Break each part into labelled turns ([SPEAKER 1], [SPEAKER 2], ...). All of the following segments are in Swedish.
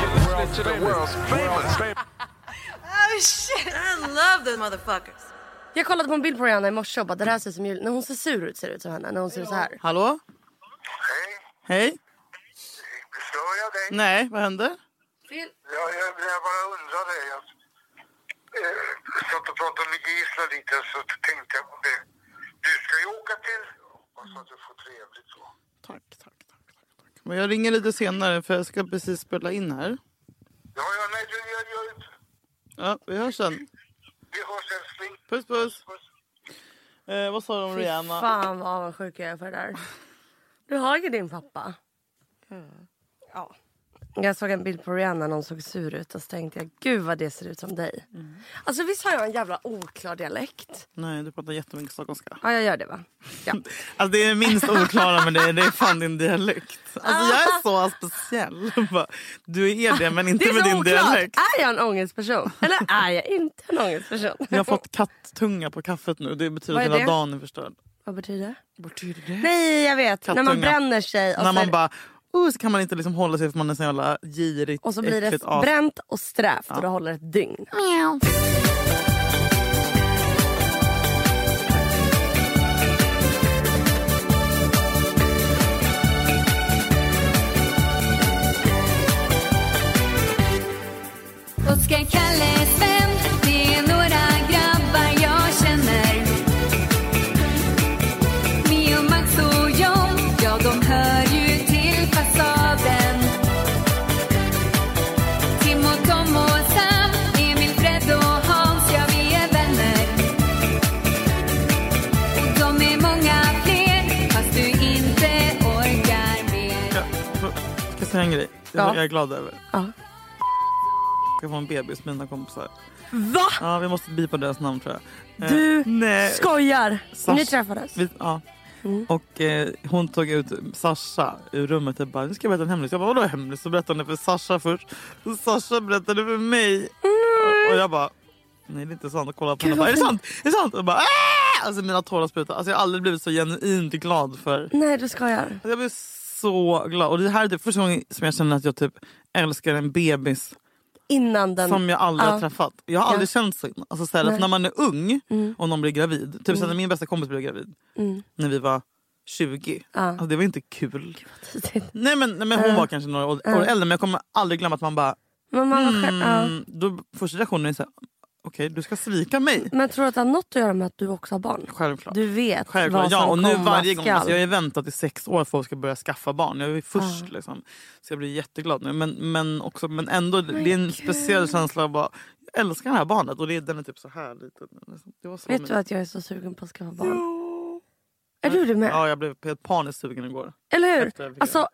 [SPEAKER 1] the world's famous.
[SPEAKER 2] Oh shit, I love those motherfuckers.
[SPEAKER 3] Jag kollade på en bild på Rihanna i morse och bara, det här ser ut som jul. När hon ser sur ut ser det ut som henne. När hon ser ut så här.
[SPEAKER 4] Hallå?
[SPEAKER 5] Hej,
[SPEAKER 4] Hej?
[SPEAKER 5] förstår jag dig?
[SPEAKER 4] Nej, vad händer?
[SPEAKER 5] Ja, jag, jag bara undrade. Jag eh, satt och pratade med Gisla lite så tänkte jag på det. Du ska ju åka till... Hoppas att du får trevligt så.
[SPEAKER 4] Tack, tack, tack. tack, tack. Men jag ringer lite senare för jag ska precis spela in här.
[SPEAKER 5] Ja, ja, nej, du, jag, jag,
[SPEAKER 4] Ja, vi hörs sen.
[SPEAKER 5] vi hörs älskling.
[SPEAKER 4] Puss, puss.
[SPEAKER 5] Puss.
[SPEAKER 4] Eh, vad sa du om
[SPEAKER 3] Fy
[SPEAKER 4] Rihanna?
[SPEAKER 3] Fan vad avundsjuk jag är för det där. Du har ju din pappa. Ja. Jag såg en bild på Rihanna när hon såg sur ut och så tänkte jag gud vad det ser ut som dig. Alltså visst har jag en jävla oklar dialekt?
[SPEAKER 4] Nej, du pratar jättemycket stockholmska.
[SPEAKER 3] Ja jag gör det va? Ja.
[SPEAKER 4] Alltså, det är det minst oklara med dig, det är fan din dialekt. Alltså, jag är så speciell. Bara, Du är det, men
[SPEAKER 3] Det
[SPEAKER 4] inte
[SPEAKER 3] är
[SPEAKER 4] med din
[SPEAKER 3] så oklart. Äh,
[SPEAKER 4] dialekt.
[SPEAKER 3] Är jag en ångestperson? Eller är jag inte en ångestperson?
[SPEAKER 4] Jag har fått kattunga på kaffet nu. Det betyder
[SPEAKER 3] Vad
[SPEAKER 4] att
[SPEAKER 3] är
[SPEAKER 4] hela
[SPEAKER 3] det?
[SPEAKER 4] dagen är förstörd.
[SPEAKER 3] Vad betyder det? Alltså-
[SPEAKER 4] Betyder det?
[SPEAKER 3] Nej jag vet, när man
[SPEAKER 4] Kattunga.
[SPEAKER 3] bränner sig och,
[SPEAKER 4] När
[SPEAKER 3] så,
[SPEAKER 4] man bara... Uh, så kan man inte liksom hålla sig för man är så jävla girigt,
[SPEAKER 3] och så blir det
[SPEAKER 4] äckligt as.
[SPEAKER 3] bränt och strävt och det håller ett dygn.
[SPEAKER 6] Oskar, Kalle, Sven Det är några grabbar jag känner Mio, Max och John Ja, de hör ju till fasaden Tim och Tom och Sam Emil, Fred och Hans Ja, vi är vänner Och de är många fler Fast du inte orkar mer
[SPEAKER 4] Ja, får- Ska jag säga en grej? Det
[SPEAKER 3] Ja.
[SPEAKER 4] jag är glad över.
[SPEAKER 3] Ja.
[SPEAKER 4] Jag får en bebis med mina kompisar.
[SPEAKER 3] Va?
[SPEAKER 4] Ja, vi måste bipa deras namn tror jag. Eh,
[SPEAKER 3] Du
[SPEAKER 4] nej.
[SPEAKER 3] skojar!
[SPEAKER 4] Sas-
[SPEAKER 3] Ni träffades?
[SPEAKER 4] Vi, ja.
[SPEAKER 3] Mm.
[SPEAKER 4] Och eh, hon tog ut Sasha ur rummet och bara nu ska jag berätta en hemlis. Jag bara vadå hemlis? Så berättade hon det för Sasha först. Och Sasha berättade för
[SPEAKER 3] Mm.
[SPEAKER 4] mig. Och jag bara nej det är inte sant. Och kollade på henne och bara är det sant? Är det sant? Och jag bara "Ah!" Alltså mina tårar sprutade. Alltså jag har aldrig blivit så genuint glad för
[SPEAKER 3] Nej du skojar.
[SPEAKER 4] Alltså, Jag blev så glad. Och Det här är typ första gången som jag känner att jag typ älskar en bebis
[SPEAKER 3] Innan den...
[SPEAKER 4] som jag aldrig har
[SPEAKER 3] Ja.
[SPEAKER 4] träffat. Jag har aldrig känt så innan. Alltså, så här, att
[SPEAKER 3] Nej. Mm.
[SPEAKER 4] när man är ung och någon blir gravid. Typ så här, när min bästa kompis blev gravid när vi var 20. Alltså, det var inte kul. Nej men, nej, men Hon var kanske några år, år äldre men jag kommer aldrig glömma att man bara...
[SPEAKER 3] Men, man var själv, ja.
[SPEAKER 4] Mm, då, första reaktionen är så här, okej du ska svika mig.
[SPEAKER 3] men tror du att det har något att göra med att du också har barn?
[SPEAKER 4] Självklart.
[SPEAKER 3] Mm. Du vet
[SPEAKER 4] Självklart.
[SPEAKER 3] vad
[SPEAKER 4] Ja,
[SPEAKER 3] som
[SPEAKER 4] och nu
[SPEAKER 3] komma
[SPEAKER 4] varje gång.
[SPEAKER 3] skall.
[SPEAKER 4] Alltså, jag har ju väntat i sex år för att folk ska börja skaffa barn. Jag är ju först liksom. Så jag blir jätteglad nu. Men, men, också, men ändå, det är en speciell känsla av bara, jag älskar det här barnet. Och det, den är typ så här liten. Liksom. Det var
[SPEAKER 3] Vet
[SPEAKER 4] så mysigt.
[SPEAKER 3] du att jag är så sugen på att skaffa barn? Är du det med?
[SPEAKER 4] Ja, jag blev helt paniskt sugen igår.
[SPEAKER 3] Eller hur?
[SPEAKER 4] Efter jag fick
[SPEAKER 3] Alltså,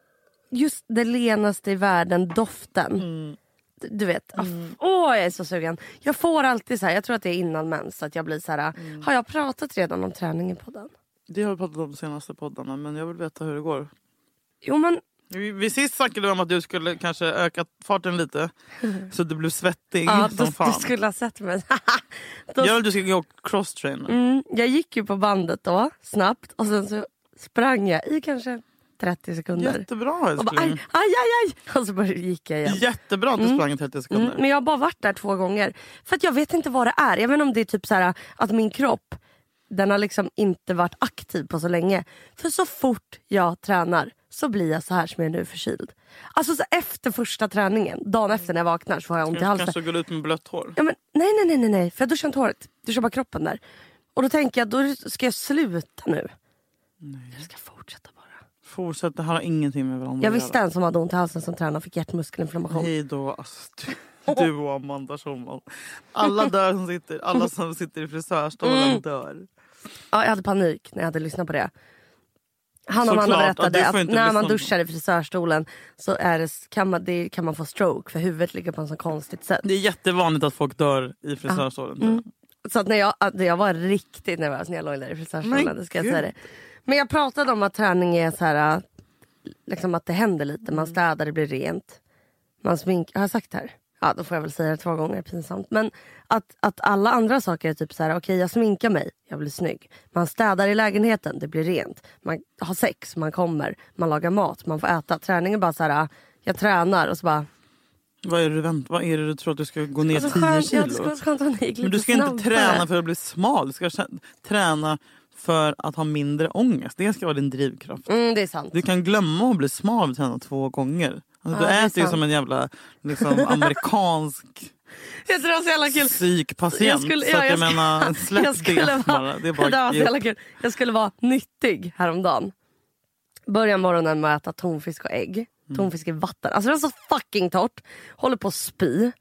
[SPEAKER 3] just det lenaste i världen, doften.
[SPEAKER 4] Mm.
[SPEAKER 3] D- Du vet, ah, åh jag är så sugen. Jag får alltid så här, jag tror att det är innan mens, att jag blir så här,
[SPEAKER 4] Mm.
[SPEAKER 3] har jag pratat redan om träning i podden?
[SPEAKER 4] Det har vi pratat om de senaste poddarna. Men jag vill veta hur det går.
[SPEAKER 3] Jo men
[SPEAKER 4] Vi, vi sist snackade vi om att du skulle kanske öka farten lite. Så du blev svettig
[SPEAKER 3] ja,
[SPEAKER 4] som
[SPEAKER 3] du, du
[SPEAKER 4] fan.
[SPEAKER 3] skulle ha sett mig. Då
[SPEAKER 4] Jag vill att du ska gå cross-trainer.
[SPEAKER 3] Mm, jag gick ju på bandet då, snabbt. Och sen så sprang jag i kanske 30 sekunder.
[SPEAKER 4] Jättebra
[SPEAKER 3] och bara, aj,
[SPEAKER 4] älskling.
[SPEAKER 3] aj, aj, aj! Och så bara gick jag igen.
[SPEAKER 4] Jättebra att du sprang i 30 sekunder.
[SPEAKER 3] Mm, men jag har bara varit där två gånger. För att jag vet inte vad det är. Jag vet inte om det är typ så här att min kropp, den har liksom inte varit aktiv på så länge. För så fort jag tränar så blir jag så här som jag är nu förkyld. Alltså så efter första träningen, dagen efter när jag vaknar så har jag ont i
[SPEAKER 4] Du
[SPEAKER 3] halsen.
[SPEAKER 4] kanske går ut med blött hår.
[SPEAKER 3] Ja, men, nej, nej, nej, nej, nej. För jag duschar inte håret. Duschar bara kroppen där. Och då tänker jag, då ska jag sluta nu. Jag ska fortsätta bara.
[SPEAKER 4] Fortsätt, det här har ingenting med varandra
[SPEAKER 3] Jag
[SPEAKER 4] att
[SPEAKER 3] visste en som hade ont i halsen som tränade och fick hjärtmuskelinflammation.
[SPEAKER 4] Hej då, alltså, du, du och Amanda Schulman. Alla dör som sitter, alla som sitter i frisörstolen
[SPEAKER 3] Mm.
[SPEAKER 4] dör.
[SPEAKER 3] Ja, jag hade panik när jag hade lyssnat på det. Han och
[SPEAKER 4] Såklart,
[SPEAKER 3] Amanda
[SPEAKER 4] ja, du
[SPEAKER 3] berättade
[SPEAKER 4] får
[SPEAKER 3] att
[SPEAKER 4] inte
[SPEAKER 3] när
[SPEAKER 4] lyssna
[SPEAKER 3] man
[SPEAKER 4] på
[SPEAKER 3] duschar i frisörstolen så är det, kan, man, det kan man få stroke för huvudet ligger på en så konstigt sätt.
[SPEAKER 4] Det är jättevanligt att folk dör i frisörstolen.
[SPEAKER 3] Ah.
[SPEAKER 4] tror jag.
[SPEAKER 3] Mm. Så att när jag, att jag var riktigt nervös när jag låg där i frisörstolen.
[SPEAKER 4] Men
[SPEAKER 3] Det ska jag
[SPEAKER 4] gud.
[SPEAKER 3] säga det. Men jag pratade om att träning är så här, äh, liksom att det händer lite.
[SPEAKER 4] Mm.
[SPEAKER 3] Man städar, det blir rent. Man sminkar. Har jag sagt det här? Ja, då får jag väl säga det två gånger. Pinsamt. Men att, att alla andra saker är typ så här, okej jag sminkar mig, jag blir snygg. Man städar i lägenheten, det blir rent. Man har sex, man kommer. Man lagar mat, man får äta. Träning är bara så här, äh, jag tränar och så bara,
[SPEAKER 4] Vad är, det du vänt, vad är det du tror att du ska gå ner
[SPEAKER 3] Alltså,
[SPEAKER 4] 10
[SPEAKER 3] skönt, ja, det skulle
[SPEAKER 4] kilo?
[SPEAKER 3] vara skönt om det gick lite
[SPEAKER 4] Men du ska
[SPEAKER 3] snabbare.
[SPEAKER 4] inte träna för att bli smal. Du ska kä- träna för att ha mindre ångest. Det ska vara din drivkraft.
[SPEAKER 3] Mm, det är sant.
[SPEAKER 4] Du kan glömma att bli smal och träna två gånger. Alltså,
[SPEAKER 3] Ja, det
[SPEAKER 4] du
[SPEAKER 3] är
[SPEAKER 4] äter ju
[SPEAKER 3] sant.
[SPEAKER 4] som en jävla liksom, amerikansk
[SPEAKER 3] Jag tror det var så jävla kul.
[SPEAKER 4] psykpatient.
[SPEAKER 3] Jag skulle-
[SPEAKER 4] så
[SPEAKER 3] ja,
[SPEAKER 4] att jag
[SPEAKER 3] jag sk-
[SPEAKER 4] menar, släpp
[SPEAKER 3] jag skulle
[SPEAKER 4] det bara.
[SPEAKER 3] vara,
[SPEAKER 4] Det är bara
[SPEAKER 3] det där var så jävla
[SPEAKER 4] cute.
[SPEAKER 3] kul. Jag skulle vara nyttig häromdagen. Börja morgonen med att äta tonfisk och ägg.
[SPEAKER 4] Mm.
[SPEAKER 3] Tonfisk i vatten. Alltså det var så fucking torrt. Håller på att spy. Eh,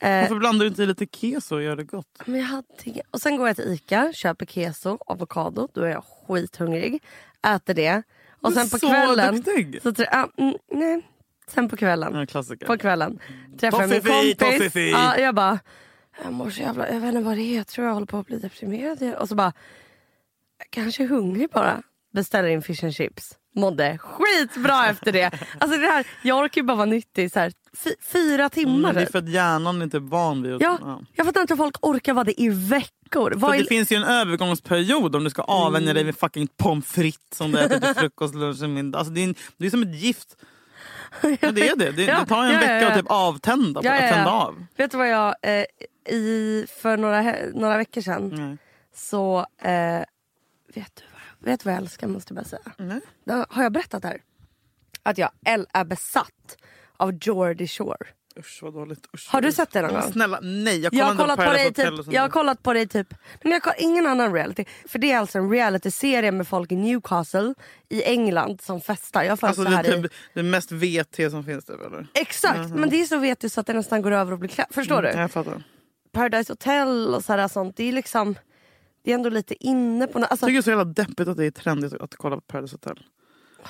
[SPEAKER 4] Varför blandar du inte i lite keso och gör det gott?
[SPEAKER 3] men jag hade inga- och sen går jag till Ica, köper keso, avokado. Då är jag skithungrig. Äter det. Och
[SPEAKER 4] Du är
[SPEAKER 3] sen på
[SPEAKER 4] så
[SPEAKER 3] kvällen.
[SPEAKER 4] duktig.
[SPEAKER 3] Så trä- ah, mm, nej. Sen på kvällen.
[SPEAKER 4] En klassiker.
[SPEAKER 3] På kvällen träffar jag min
[SPEAKER 4] Toffifi,
[SPEAKER 3] kompis.
[SPEAKER 4] Toffifi.
[SPEAKER 3] Ja, jag bara, jag mår så jävla, jag vet inte vad det är, jag tror jag håller på att bli deprimerad. Och så bara, jag kanske är hungrig bara. Beställer in fish and chips. Mådde skitbra efter det. Alltså det här, jag orkar ju bara vara nyttig i så här, fy, fyra timmar.
[SPEAKER 4] Men Mm, det är för att hjärnan inte är van vid att...
[SPEAKER 3] ja, Jag fattar inte hur folk orkar vara det i veckor.
[SPEAKER 4] För
[SPEAKER 3] Vad
[SPEAKER 4] att
[SPEAKER 3] är, Mm.
[SPEAKER 4] det finns ju en övergångsperiod om du ska avvänja dig vid fucking pommes frites som du äter till frukost, lunch och middag. Alltså det, är en, det är som ett gift. Men det är det. Det,
[SPEAKER 3] Ja,
[SPEAKER 4] det tar ju en
[SPEAKER 3] ja, ja,
[SPEAKER 4] vecka att
[SPEAKER 3] ja.
[SPEAKER 4] typ avtända.
[SPEAKER 3] Ja, ja,
[SPEAKER 4] Att tända
[SPEAKER 3] ja.
[SPEAKER 4] av.
[SPEAKER 3] Vet du vad jag, eh, i, för några, he- några veckor sedan
[SPEAKER 4] Nej.
[SPEAKER 3] så, eh, vet, du vad, vet du vad jag älskar måste jag bara säga.
[SPEAKER 4] Nej.
[SPEAKER 3] Då har jag berättat det här? Att jag el- är besatt av Geordie Shore.
[SPEAKER 4] Usch vad dåligt. Usch,
[SPEAKER 3] Har
[SPEAKER 4] vad
[SPEAKER 3] du
[SPEAKER 4] dåligt.
[SPEAKER 3] sett det någon
[SPEAKER 4] Men
[SPEAKER 3] gång?
[SPEAKER 4] Snälla nej. Jag,
[SPEAKER 3] Jag har,
[SPEAKER 4] kollar
[SPEAKER 3] kollat
[SPEAKER 4] inte
[SPEAKER 3] på
[SPEAKER 4] Paradise
[SPEAKER 3] dig,
[SPEAKER 4] Hotel och
[SPEAKER 3] typ,
[SPEAKER 4] sånt
[SPEAKER 3] jag har
[SPEAKER 4] där.
[SPEAKER 3] kollat på dig typ... Nej, men jag kollar ingen annan reality. För det är alltså en realityserie med folk i Newcastle i England som festar. Jag har för mig
[SPEAKER 4] Alltså
[SPEAKER 3] att
[SPEAKER 4] det
[SPEAKER 3] det här
[SPEAKER 4] är
[SPEAKER 3] i...
[SPEAKER 4] typ det mest VT som finns typ eller?
[SPEAKER 3] Exakt! Men det är så vet du så att det nästan går över och blir klä... Förstår du?
[SPEAKER 4] Mm, Jag fattar.
[SPEAKER 3] Paradise Hotel och så här, sånt. Det är liksom... Det är ändå lite inne på... nå- Alltså,
[SPEAKER 4] Jag tycker det är så jävla deppigt att det är trendigt att kolla på Paradise Hotel.